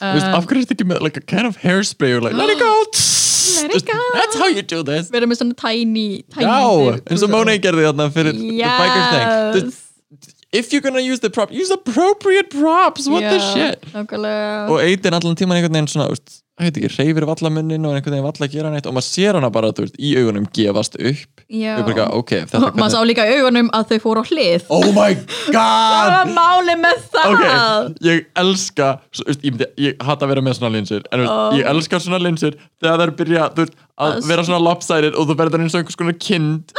B: Eh,
C: Þú veist, af hverju er þetta ekki með like a can of hairspray og like, let
B: <gasps>
C: it go let
B: it go.
C: that's how you do this
B: verið með svona tiny, tiny
C: Já,
B: myndir,
C: eins og
B: þú
C: Mónei
B: veist.
C: gerði þarna fyrir the biker thing Þú veist, if you're gonna use the prop, use appropriate props, what the
B: Já,
C: shit
B: nákvæmlega
C: og eitir allan tíman einhvern veginn svona úst, heit ekki, reyfir vallamunnin og einhvern veginn valla að gera neitt og maður sér hana bara þú veist, í augunum gefast upp
B: Já.
C: og bara eitthvað, ok, þetta er
B: maður sá líka í augunum að þau fóru á hlið
C: oh my
B: það var
C: god
B: máli með það
C: ok, ég elska svo, úst, ég, myndi- ég hata að vera með svona linsir en oh. ég elska svona linsir þegar þær byrja þú veist, að
B: Að-
C: vera svona lopsided og þú verður eins og einhvers konar kind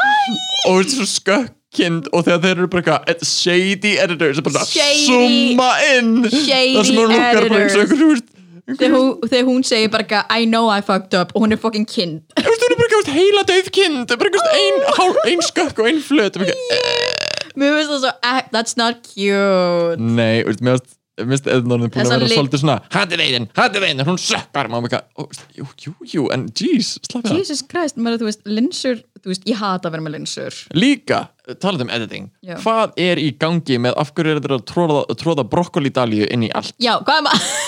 C: og þú veist, svo skökk kind og þegar þeir eru bara eitthvað et- shady editors sem bara
B: Shady-
C: zooma inn
B: Shady
C: það sem hún lukkar bara eins og
B: editors.
C: einhver þú veist,
B: þegar hún, þegar hún segir bara eitthvað, I know I fucked up og hún er fucking kind <laughs>
C: Þú veist, hún er bara eitthvað heila döð kind bara eitthvað ein, hál, ein skökk og ein flöt og bara eitthvað,
B: mér finnst það svo, "Ah, that's not cute
C: nei, þú veist, mér varst minnst eðnarnir búin að
B: Þessa
C: vera
B: lit-
C: svolítið svona hætti veginn, hætti veginn, hún sökkar maður bara, eitthvað, ó, þú veist, jú, jú, jú, en jeez, slappi það
B: Jesus Christ, maður þú veist, linsur þú veist, ég hata að vera með linsur
C: líka, talað um editing
B: Já.
C: hvað er í gangi með af hverju er þetta að tróða, tróða brokkolidalju inn í allt
B: já, <laughs> hvað er maður,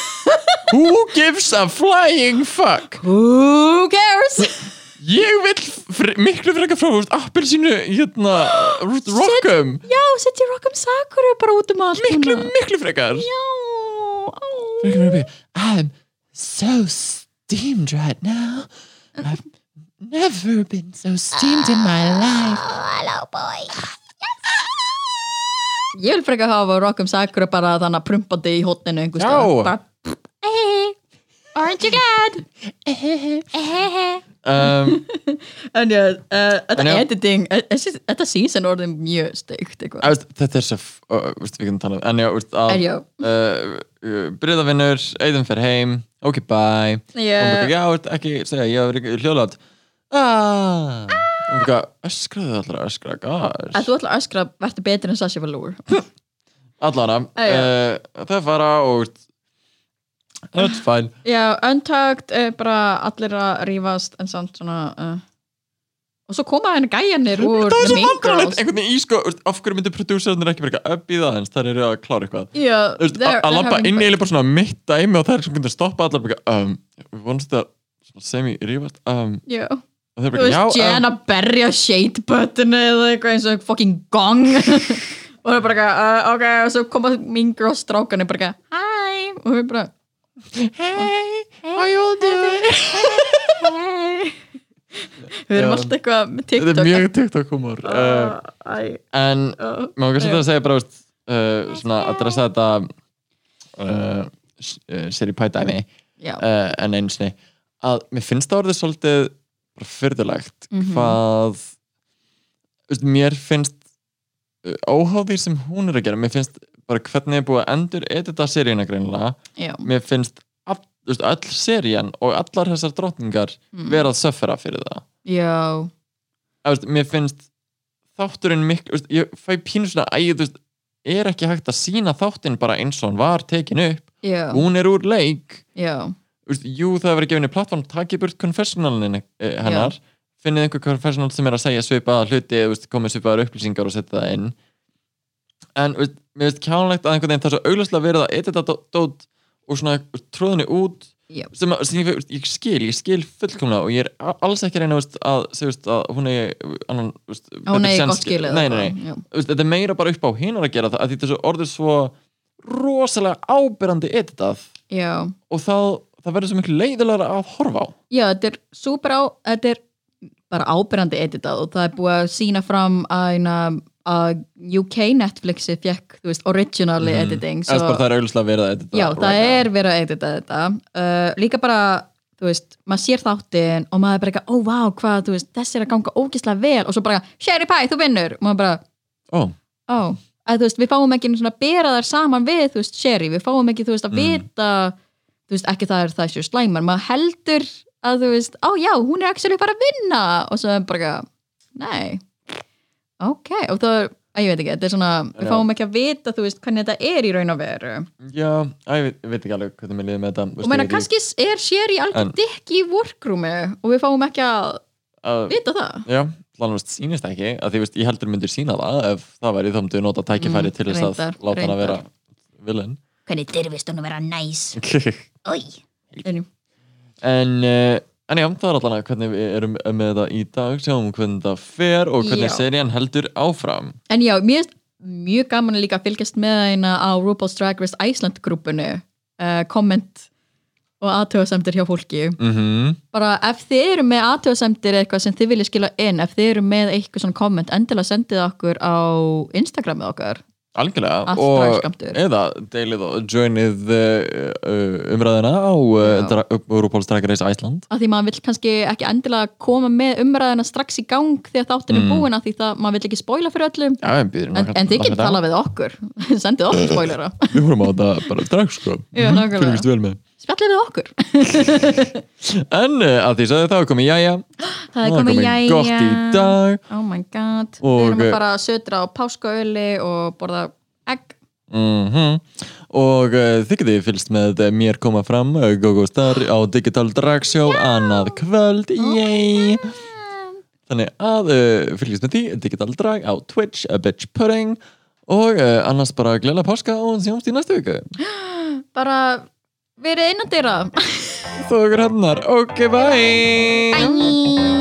C: who gives a flying fuck
B: who cares
C: ég vil fr miklu frekar frá þú veist, appelsínu, hérna rockum,
B: já, setja Rock'em Sakura bara út um allt
C: miklu,
B: núna.
C: miklu frekar
B: já, á
C: They're gonna be, I'm so steamed right now. I've never been so steamed in my life.
B: Ég vil frekar hafa Rock'em Sakura bara þannig að prumpandi í hótninu einhvers staðar.
C: Já.
B: Bara, "Hey, Aren't you glad?
C: Um,
B: En já, uh, þetta
C: En já.
B: editing eh, þessi- Þetta season orðið mjög steikt
C: I
B: eitthvað
C: was, þetta er svo, f- uh, veist, við getum talað, en já, veist, að,
B: En já,
C: uh, uh, Bryðavinnur, Eidun fer heim, ok, bye. Og hún
B: já
C: bara, já, veist, ekki, segja, ég hef verið hljóðlátt. Ah. Og hún bara, öskraðu allra, öskra, gosh.
B: Að eh, þú ætlar að öskra, verður betur en Sasha Velour
C: Allana,
B: Já, já.
C: uh, það fara og, veist, that's fine.
B: Já, untugged, uh, bara allir að rífast en samt svona uh. Og svo koma henni gæjanir úr
C: það er
B: The
C: svo
B: Mean
C: vandrarlegt
B: Girls.
C: einhvern veginn í sko þú veist, af hverju myndir prodúsernir ekki verið að býða aðeins þær eru að klára eitthvað
B: Já,
C: Þú veist,
B: they're-
C: að- að
B: they're
C: labba
B: having
C: inn
B: fun.
C: í eiginlega bara svona mitt dæmi og þær sem getur stoppa allar bara eitthvað, um, við vonumst þetta semi rífast um,
B: Já
C: og
B: Þú
C: þeir bara
B: veist,
C: já
B: Jen
C: um,
B: að berja shade buttonu eða eitthvað eins og fucking gong
C: <laughs>
B: og það er bara eitthvað, uh, ok, og svo koma mín gróð strákan er bara eitthvað, hæ og við bara,
C: um, hey, how you all doing
B: hæ við erum
C: Já.
B: alltaf eitthvað með TikTok
C: þetta er mjög TikTok humor uh,
B: uh, æ,
C: en
B: uh,
C: maður kannski
B: Já.
C: þetta að segja bara veist, uh, svona adressa þetta uh, s- uh, sér í pædæmi
B: já,
C: uh, en einu sinni að mér finnst það orðið svolítið bara fyrðulegt
B: Mhm.
C: hvað veist, mér finnst uh, óháð því sem hún er að gera mér finnst bara hvernig er búið að endur edita seríuna greinilega
B: já,
C: mér finnst all, veist, öll serían og allar þessar drottningar
B: Mm.
C: vera að söffera fyrir það
B: já
C: Að, veist, mér finnst þátturinn miklu veist, ég fæ pínu svona æg veist, er ekki hægt að sína þáttinn bara eins og hann var tekin upp
B: já,
C: hún er úr leik
B: já,
C: Úst, jú, það hefur verið gefinni plattform takið burt confessionalin hennar finnið einhver confessional sem er að segja svipaða hluti úst, komið svipaðar upplýsingar og setja það inn en úst, mér finnst kjánlegt að einhvern veginn það er svo augljóslega verið að edita dó- dót og svona úst, tróðinni út
B: Já.
C: sem, að- sem ég, úst, ég skil, ég skil fullkomlega og ég er a- alls ekki að reyna úst, að, segja, úst, að hún eigi annan, úst,
B: hún
C: betur
B: er
C: sens-
B: gott skilið
C: nei, nei, nei
B: já,
C: Þú veist, þetta er meira bara upp á hinar að gera það að þetta er svo orðið svo rosalega ábyrrandi editað
B: já,
C: og það, það verður svo miklu leiðilega að horfa á
B: já, þetta er súper á þetta er bara ábyrjandi editað og það er búið að sína fram að, hérna, að UK Netflixi fekk, þú veist, originally editing
C: Svo... Bara, Mhm. það er auðvitað verið að hérna. edita
B: Já, það er verið að edita þetta uh, líka bara, þú veist, maður sér þáttin og maður er bara eitthvað, ó vá, hvað, þú veist þessi er að ganga ógislega vel og svo bara Sherry Pie, þú vinnur, og maður bara,
C: Ó,
B: ó að þú veist, við fáum ekki einu svona beraðar saman við, þú veist, Sherry, við fáum ekki, þú veist,
C: Mm.
B: að vita þú veist, ekki það er það séu slæmar, maður heldur að þú veist, ó já, hún er actually bara að vinna og svo er bara, eitthvað, nei ok, og það er að ég veit ekki, þetta er svona, við
C: Já.
B: fáum ekki að vita þú veist, hvernig þetta er í raun og veru
C: já, að, ég veit, ég veit ekki alveg hvernig mér liði með þetta
B: og meina kannski er sér í algjör
C: En-
B: dikk í workroomi og við fáum ekki að
C: að,
B: vita það
C: Já, þannig að sýnist ekki að því veist, ég heldur myndir sína það ef það væri þá myndir við nota tækifæri
B: Mm,
C: til þess að
B: reyndar,
C: láta hann að vera
B: reyndar.
C: vilin
D: Hvernig dyrfist hún að vera næs? Új,
B: en,
C: en, uh, en já, það er allan að hvernig við erum með þetta í dag sjáum hvernig það fer og hvernig
B: Já.
C: serían heldur áfram
B: en já, mér finnst mjög gaman líka að fylgjast með eina á RuPaul's Drag Race Iceland grúpunu uh, komment og aðtöðasemdir hjá fólki
C: mm
B: bara ef þið eru með aðtöðasemdir eitthvað sem þið viljið skila inn, ef þið eru með eitthvað svona komment, endilega sendið okkur á Instagramið okkar
C: Algjörlega
B: Allt
C: og
B: dragskammtur.
C: eða deilið og joinið uh, uh, umræðina á
B: Já.
C: uh, Rúpáls Drag Race Æsland
B: að því maður vill kannski ekki endilega koma með umræðina strax í gang þegar þáttin er
C: Mm.
B: búin að því það, maður vill ekki spoila fyrir öllum
C: Já, en, býður,
B: En, en þið getur talað um- við okkur <laughs> sendið okkur spoilera
C: Við vorum á þetta bara strax sko
B: <laughs> Já, nákvæmlega.
C: Fylgist vel með
B: spjallið við okkur
C: En uh, að því sagði það er komið jæja
B: <gasps> það er komið jæja
C: gott í dag
B: oh my god
C: Og-
B: við erum að fara að södra á páskaöli og borða egg
C: mm Og uh, þið getið fylgst með eh, mér koma fram uh, GoGo Star á Digital Drag Show annað kvöld Yay Þannig að uh, fylgist með því Digital Drag á Twitch, a bitch pudding Og uh, annars bara glela páska og sjáumst í næstu viku
B: bara verið innan dyrra
C: Þókur hannar, ok hérna. bye
D: bæ!